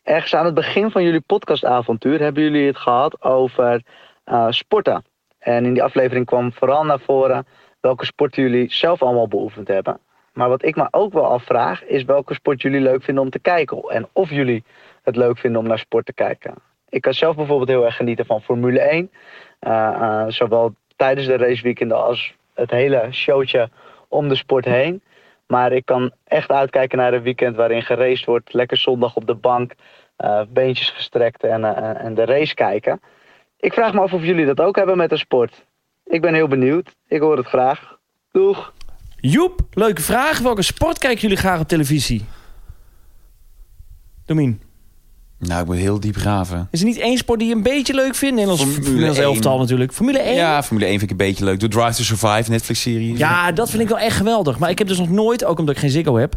K: Ergens aan het begin van jullie podcastavontuur hebben jullie het gehad over eh, sporten. En in die aflevering kwam vooral naar voren welke sporten jullie zelf allemaal beoefend hebben. Maar wat ik me ook wel afvraag is welke sport jullie leuk vinden om te kijken. En of jullie het leuk vinden om naar sport te kijken. Ik kan zelf bijvoorbeeld heel erg genieten van Formule 1. Eh, eh, zowel tijdens de raceweekenden als het hele showtje om de sport heen. Maar ik kan echt uitkijken naar een weekend waarin geraced wordt. Lekker zondag op de bank, eh, beentjes gestrekt en, eh, en de race kijken. Ik vraag me af of jullie dat ook hebben met de sport. Ik ben heel benieuwd. Ik hoor het graag. Doeg!
B: Joep, leuke vraag. Welke sport kijken jullie graag op televisie? Domien,
A: Nou, ik moet heel diep graven.
B: is er niet één sport die je een beetje leuk vindt? Nederlands, Nederlands elftal natuurlijk. Formule 1?
A: Ja, Formule 1 vind ik een beetje leuk. De Drive to Survive Netflix-serie.
B: Ja, dat vind ik wel echt geweldig. Maar ik heb dus nog nooit, ook omdat ik geen Ziggo heb...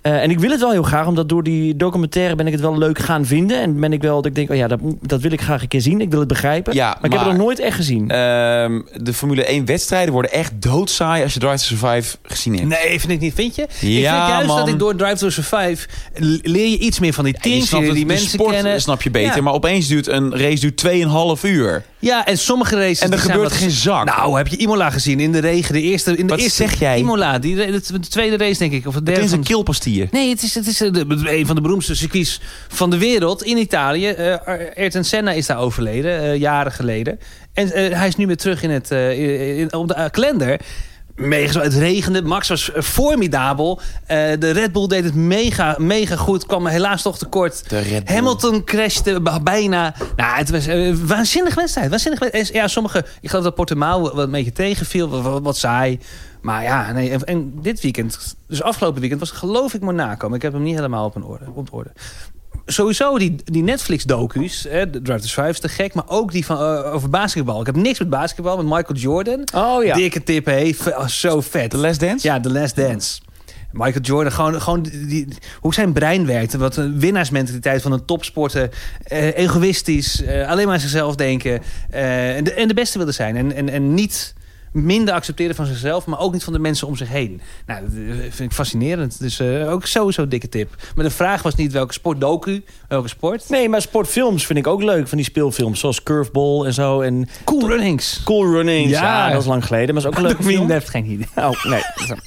B: eh, en ik wil het wel heel graag, omdat door die documentaire ben ik het wel leuk gaan vinden. En ben ik wel, dat ik denk, oh ja, dat, dat wil ik graag een keer zien. Ik wil het begrijpen.
A: Ja,
B: maar, ik heb het nog nooit echt gezien.
A: Ehm, de Formule 1 wedstrijden worden echt doodsaai als je Drive to Survive gezien hebt.
C: Nee, vind ik niet. Vind je? ik vind
A: Ja,
C: juist
A: man.
C: dat ik door Drive to Survive leer je iets meer van die
A: En je
C: teams,
A: snapt
C: leer je
A: het,
C: die
A: de
C: mensen
A: sport
C: kennen.
A: snap je beter.
C: Ja.
A: Maar opeens duurt een race duurt 2,5 uur.
C: Ja, en sommige races...
A: En er
C: die zijn
A: gebeurt
C: wat-
A: geen zak.
C: Nou, heb je Imola gezien in de regen? De eerste, in de
A: Wat
C: eerste,
A: zeg jij?
C: Imola, die, de, de tweede race denk ik. Of de derde
A: Het is
C: van-
A: een kilpastier.
C: Nee, het is, het is eh, de- een van de beroemdste circuits van de wereld in Italië. Eh, Ar- Ayrton Senna is daar overleden, eh, jaren geleden. En eh, hij is nu weer terug in het, eh, in- op de eh, kalender. Mega, zo- het regende, Max was eh, formidabel. Eh, de Red Bull deed het mega, mega goed, kwam helaas toch tekort. Hamilton crashte b- bijna. Nou, het was eh, een waanzinnig wedstrijd. Waanzinnig wedstrijd. En Ja, sommige, ik geloof dat Portimao wat een beetje tegenviel, wat, wat, wat saai. Maar ja, nee, en, en dit weekend, dus afgelopen weekend, was het geloof ik Monaco. Maar ik heb hem niet helemaal op, een orde, op orde. Sowieso die, die Netflix-docu's, hè, de Drive to Survive is te gek. Maar ook die van, eh, over basketbal. Ik heb niks met basketbal, met Michael Jordan.
B: Oh ja.
C: Dikke tip, hé. V- oh, zo vet. The
A: Last Dance?
C: Ja, The Last Dance. Michael Jordan, gewoon, gewoon die- die, hoe zijn brein werkte. Wat een winnaarsmentaliteit van een topsporter. Eh, egoïstisch, eh, alleen maar aan zichzelf denken. eh, en, de, en de beste wilde zijn. En, en, en niet minder accepteren van zichzelf, maar ook niet van de mensen om zich heen. Nou, dat eh, vind ik fascinerend. Dus eh, ook sowieso dikke tip. Maar de vraag was niet welke sport docu, welke sport.
B: Nee, maar sportfilms vind ik ook leuk. Van die speelfilms, zoals Curveball en zo. En
C: cool Runnings.
B: Cool Runnings, ja.
A: Ja.
B: dat is lang geleden. Maar is ook een leuke film.
C: heeft geen idee. Oh
B: Oh, nee.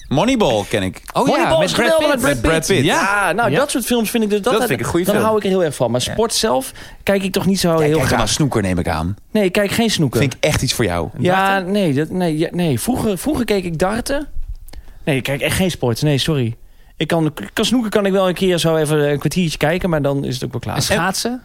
A: Moneyball ken ik.
B: Moneyball is geweldig met Brad Pitt. Ja, nou,
A: Ja.
B: dat soort films vind ik dus... Dat,
A: Dat vind ik een goede
B: Dan
A: film.
B: hou ik er heel erg van. Maar sport zelf kijk ik toch niet zo heel
A: Kijk dan
B: graag.
A: naar snoeker neem ik aan.
B: Nee, ik kijk geen snoeken.
A: Vind ik echt iets voor jou.
B: Ja, nee, dat, nee, ja, nee. Vroeger, vroeger keek ik darten. Nee, ik kijk echt geen sport. Nee, sorry. Ik kan, kan snoeken kan ik wel een keer zo even een kwartiertje kijken, maar dan is het ook wel klaar.
C: En schaatsen?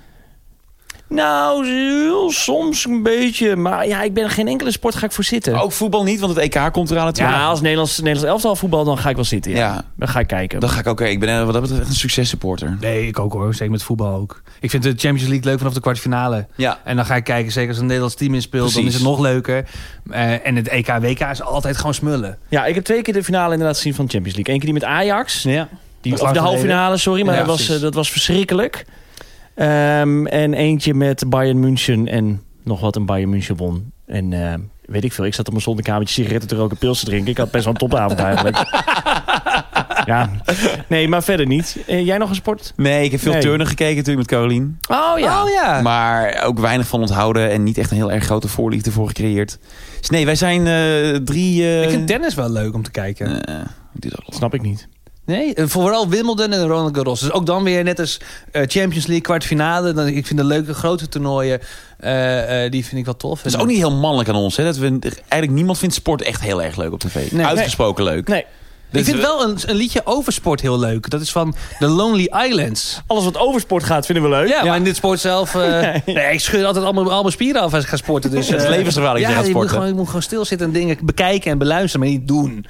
B: Nou, heel soms een beetje. Maar ja, ik ben geen enkele sport ga ik voor zitten.
A: Ook voetbal niet, want het EK komt eraan natuurlijk.
B: Ja, als Nederlands, Nederlands elftal voetbal, dan ga ik wel zitten. Ja.
A: Ja.
B: Dan ga ik kijken.
A: Dan ga ik ook. Ik ben eh, wat dat betreft echt een successupporter.
C: Nee, ik ook hoor. Zeker met voetbal ook. Ik vind de Champions League leuk vanaf de kwartfinale.
A: Ja.
C: En dan ga ik kijken, zeker als een Nederlands team inspeelt, dan is
A: Precies.
C: het nog leuker. Eh, en het EK-WK is altijd gewoon smullen.
B: Ja, ik heb twee keer de finale inderdaad gezien van de Champions League. Eén keer die met Ajax.
C: Ja.
B: Die,
C: Dat is
B: of de
C: lang
B: halve
C: geleden.
B: finale, sorry, maar
C: Ja,
B: dat, was,
C: precies.
B: eh, dat was verschrikkelijk. Ehm, en eentje met Bayern München en nog wat een Bayern München won. En eh, weet ik veel, ik zat op mijn zonnekamertje sigaretten te roken, pils te drinken. Ik had best wel een topavond eigenlijk. ja, nee, maar verder niet. Eh, jij nog een sport?
A: Nee, ik heb veel
B: Nee.
A: turnen gekeken natuurlijk met Carolien.
B: Oh ja.
C: Oh ja.
A: Maar ook weinig van onthouden en niet echt een heel erg grote voorliefde voor gecreëerd. Dus nee, wij zijn eh, drie... eh,
C: ik vind tennis wel leuk om te kijken.
A: eh, dit is alles.
B: Snap ik niet.
C: Nee, eh, vooral Wimbledon en Roland Garros. Dus ook dan weer net als eh, Champions League kwartfinale. Dan, ik vind de leuke grote toernooien, eh, eh, die vind ik wel tof.
A: Dat is ook niet heel mannelijk aan ons. Hè? Dat we, eigenlijk niemand vindt sport echt heel erg leuk op tv.
C: Nee.
A: Uitgesproken leuk.
B: Nee,
A: Dus
C: ik vind
A: we-
C: wel een, een liedje over sport heel leuk. Dat is van The Lonely Islands.
B: alles wat over sport gaat vinden we leuk.
C: Ja, maar in dit sport zelf... eh, nee. ik scheur altijd allemaal, allemaal spieren af als ik ga sporten. Dus,
A: Het is
C: eh,
A: levensgevaarlijk als
C: ja,
A: je gaat
C: je moet
A: sporten.
C: gewoon, je moet gewoon stilzitten en dingen bekijken en beluisteren, maar niet doen.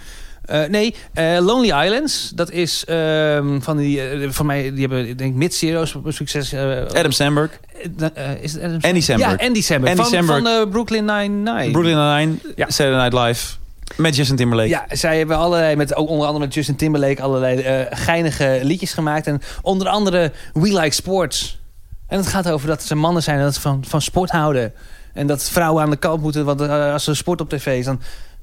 C: Eh, nee, eh, Lonely Islands, dat is ehm, van die, eh, van mij, die hebben ik denk mid-zero's succes. eh,
A: Adam Sandberg,
C: eh, eh, is het Adam
A: Andy Samberg.
C: Ja, Andy Samberg.
A: Andy
C: van
A: Samberg.
C: van eh, Brooklyn Nine-Nine.
A: Brooklyn Nine, Saturday Night Live met Justin Timberlake.
C: Ja, zij hebben allerlei, met, ook onder andere met Justin Timberlake, allerlei eh, geinige liedjes gemaakt. En onder andere We Like Sports. En het gaat over dat ze mannen zijn en dat ze van, van sport houden. En dat vrouwen aan de kant moeten, want eh, als er sport op tv is, dan...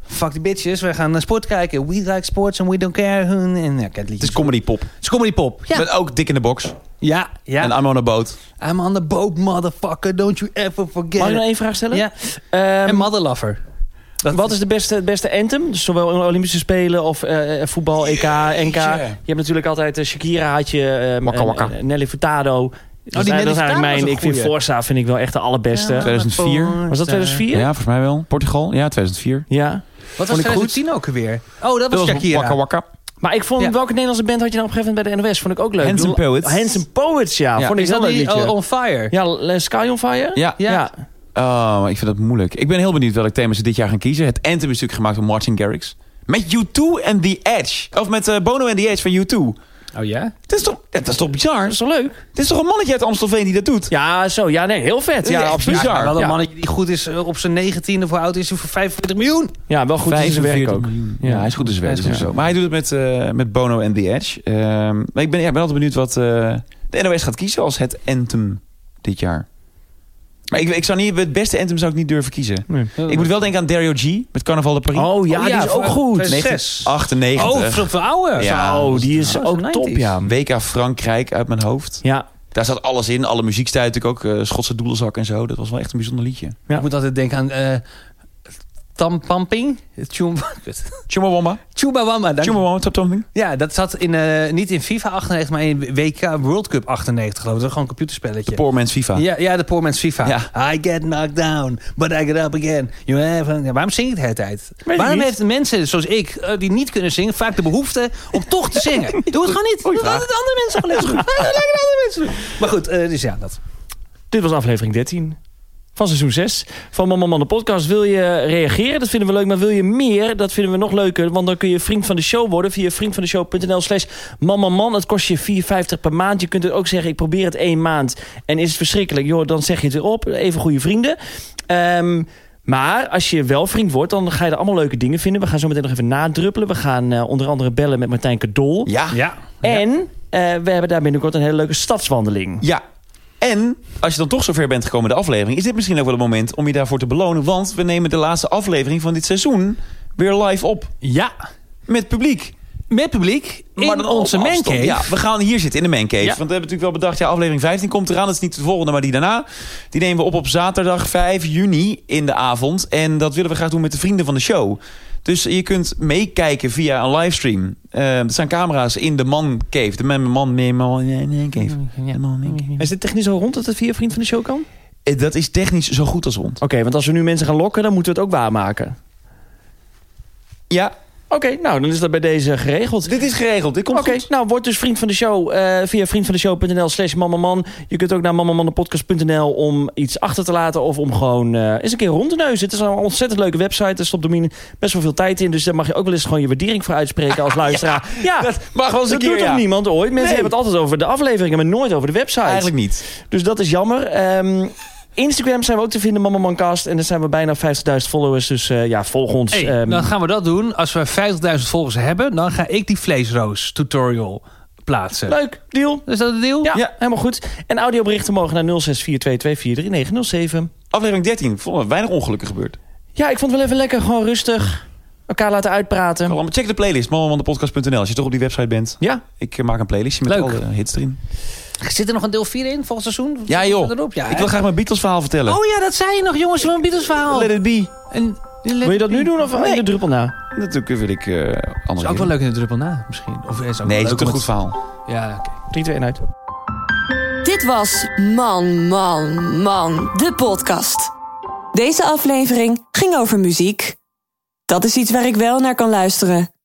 C: Fuck die bitches, we gaan naar sport kijken. We like sports and we don't care. En, ja, ik ken het
A: Het is
C: liedje.
A: comedy pop.
C: Het is comedy pop. Ja,
A: Met ook Dick in de Box.
C: ja, ja.
A: En I'm on a boat.
C: I'm on the boat, motherfucker. Don't you ever forget.
B: Mag ik nou
C: it.
B: nog één vraag stellen?
C: Ja.
B: Ehm,
C: En Mother Lover. Dat
B: Wat is de beste, het beste anthem? Dus zowel in de Olympische Spelen of eh, voetbal, EK, NK. Je hebt natuurlijk altijd eh, Shakira, had je ehm,
A: Wakka,
B: en-
A: wakka.
B: en Nelly Furtado. dat,
C: Nelly
B: zijn- dat is
C: Furtado
B: eigenlijk mijn.
C: was een
B: Ik vind
C: goeie.
B: Forza vind ik wel echt de allerbeste.
A: 2004.
B: Was dat 2004?
A: Ja, volgens mij wel. Portugal. Ja, 2004.
B: Ja.
C: Wat was
A: Vond ik goed.
C: 2010 ook weer? Oh, dat was
A: Dat was
C: Shakira.
A: Wakka Wakka.
B: Maar ik vond
C: Ja.
B: welke Nederlandse band had je nou op een gegeven moment bij de NOS? Vond ik ook leuk.
A: Handsome
B: Ik bedoel,
A: Poets.
C: Ah,
B: Handsome Poets, ja.
A: Ja.
B: Vond ik
C: Is
B: wel
C: dat
B: een leuk
C: die
B: liedje.
C: oh, On Fire?
B: oh, Ja, L- Sky on Fire?
A: Ja.
C: oh, Ja.
A: Oh, maar ik vind dat moeilijk. Ik ben heel benieuwd welke thema's ze dit jaar gaan kiezen. Het anthem is natuurlijk gemaakt door Martin Garrix. Met U2 en The Edge. Of met eh, Bono en The Edge van U2.
B: Oh ja?
A: Dat is toch, dat is toch bizar? Dat is
B: toch leuk?
A: Dit is toch een mannetje uit Amstelveen die dat doet?
B: Ja, zo. Ja, nee, heel vet. Ja, absoluut.
C: maar wel een
B: Ja.
C: mannetje die goed is eh, op zijn 19e. Voor oud is hij voor 45 miljoen.
B: Ja, wel goed in zijn werk ook.
A: Ja, hij is goed in zijn werk. sowieso. Maar hij doet het met, eh, met Bono en The Edge. Ehm, maar ik ben, ja, ik ben altijd benieuwd wat eh, de NOS gaat kiezen als het anthem dit jaar. Maar ik, ik zou niet, het beste anthem zou ik niet durven kiezen. Ik moet wel denken aan Dario G. Met Carnaval de Paris.
B: Oh ja, die is ook goed.
A: 98.
C: Oh, veel veel ouder.
A: eh, Ja,
B: Zo, die is
C: Oh,
B: ook
C: zo'n
B: top,
C: 90s.
B: ja.
A: WK Frankrijk uit mijn hoofd.
B: Ja.
A: Daar zat alles in. Alle muziekstijl natuurlijk ook. eh, Schotse doedelzak en zo. Dat was wel echt een bijzonder liedje.
B: Ja.
C: Ik moet altijd denken aan... eh Tampamping?
A: Chumawamba.
C: Chubawamba. dank je.
A: Chumawamba, top something.
C: Ja, dat zat in, eh, niet in FIFA 98, maar in WK World Cup 98 geloof ik. Dat was gewoon een computerspelletje.
A: Poor Man's FIFA.
C: Ja, ja, de poor man's FIFA.
A: Ja.
C: I get knocked down, but I get up again. You have... Ja, waarom zing ik de hele tijd?
B: ik
C: Waarom
B: niet.
C: heeft mensen zoals ik, eh, die niet kunnen zingen... vaak de behoefte om toch te zingen? Doe het gewoon niet. Doe het
A: vraag.
C: altijd andere mensen gewoon even goed. Laat het lekker andere mensen doen. Maar goed, eh, dus ja, dat.
B: Dit was aflevering 13 van seizoen 6 van Mama Man de podcast. Wil je reageren? Dat vinden we leuk. Maar wil je meer? Dat vinden we nog leuker. Want dan kun je vriend van de show worden via vriendvandeshow.nl slash mamaman. Het kost je 4,50 per maand. Je kunt het ook zeggen, ik probeer het één maand. En is het verschrikkelijk? Joh, dan zeg je het weer op. Even goede vrienden. Ehm, maar als je wel vriend wordt, dan ga je er allemaal leuke dingen vinden. We gaan zo meteen nog even nadruppelen. We gaan eh, onder andere bellen met Martijn Kadol.
A: Ja.
C: Ja.
B: En eh, we hebben daar binnenkort een hele leuke stadswandeling.
A: Ja. En als je dan toch zover bent gekomen in de aflevering, is dit misschien ook wel een moment om je daarvoor te belonen. Want we nemen de laatste aflevering van dit seizoen weer live op.
C: Ja,
A: Met publiek.
C: met publiek in
A: dan op
C: onze
A: afstand.
C: mancave.
A: Ja, we gaan hier zitten in de mancave.
C: Ja.
A: Want we hebben natuurlijk wel bedacht, ja, aflevering 15 komt eraan. Dat is niet de volgende, maar die daarna. Die nemen we op op zaterdag 5 juni in de avond. En dat willen we graag doen met de vrienden van de show. Dus je kunt meekijken via een livestream. Eh, er zijn camera's in de man cave. De man, man, man, man, man cave. De man, man cave.
B: Is dit technisch al rond dat het via vriend van de show kan?
A: Eh, Dat is technisch zo goed als rond.
B: Oké, want als we nu mensen gaan lokken, dan moeten we het ook waarmaken.
A: Ja,
B: Oké, nou, dan is dat bij deze geregeld.
A: dit is geregeld. Dit komt
B: Oké,
A: goed.
B: nou, word dus vriend van de show eh, via vriendvandeshow.nl slash mamaman. Je kunt ook naar mamamannenpodcast.nl om iets achter te laten... of om gewoon eh, eens een keer rond te neuzen. Het is een ontzettend leuke website. Er stopt Domine best wel veel tijd in. Dus daar mag je ook wel eens gewoon je waardering voor uitspreken als luisteraar. ja,
A: dat mag wel eens een
B: dat
A: keer,
B: doet
A: ja.
B: toch niemand ooit? Mensen
A: Nee.
B: hebben het altijd over de afleveringen, maar nooit over de website.
A: Eigenlijk niet.
B: Dus dat is jammer. Ehm, Instagram zijn we ook te vinden, Mamamancast. En dan zijn we bijna 50.000 followers. Dus eh, ja, volg ons.
C: Hey,
B: Ehm,
C: dan gaan we dat doen. Als we 50.000 volgers hebben, dan ga ik die vleesroos tutorial plaatsen.
B: Leuk, deal.
C: Is dat het deal?
B: Ja, helemaal goed. En audioberichten mogen naar 0642243907.
A: Aflevering 13. Vonden we weinig ongelukken gebeurd.
B: Ja, ik vond het wel even lekker. Gewoon rustig. Elkaar laten uitpraten.
A: Allemaal Check de playlist, mamamandepodcast.nl. Als je toch op die website bent.
B: Ja,
A: Ik eh, maak een playlistje met
C: Leuk.
A: alle hits erin.
C: Zit er nog een deel 4 in volgend seizoen?
A: Ja
C: Zit
A: joh,
C: er erop? Ja,
A: ik
C: hè?
A: wil graag mijn Beatles verhaal vertellen.
C: Oh ja, dat zei je nog, jongens, van een Beatles verhaal.
A: Let it be.
C: En,
B: wil je dat nu doen of in de druppel na?
A: Natuurlijk wil ik eh
C: Is
A: andere
C: ook wel
A: keer.
C: leuk in de druppel na, misschien. Of is
A: Nee,
C: ook wel
A: het is
C: leuk
A: ook een
C: om
A: goed verhaal.
C: Ja, oké.
B: 3, 2, 1 uit.
D: Dit was Man, Man, Man, de podcast. Deze aflevering ging over muziek. Dat is iets waar ik wel naar kan luisteren.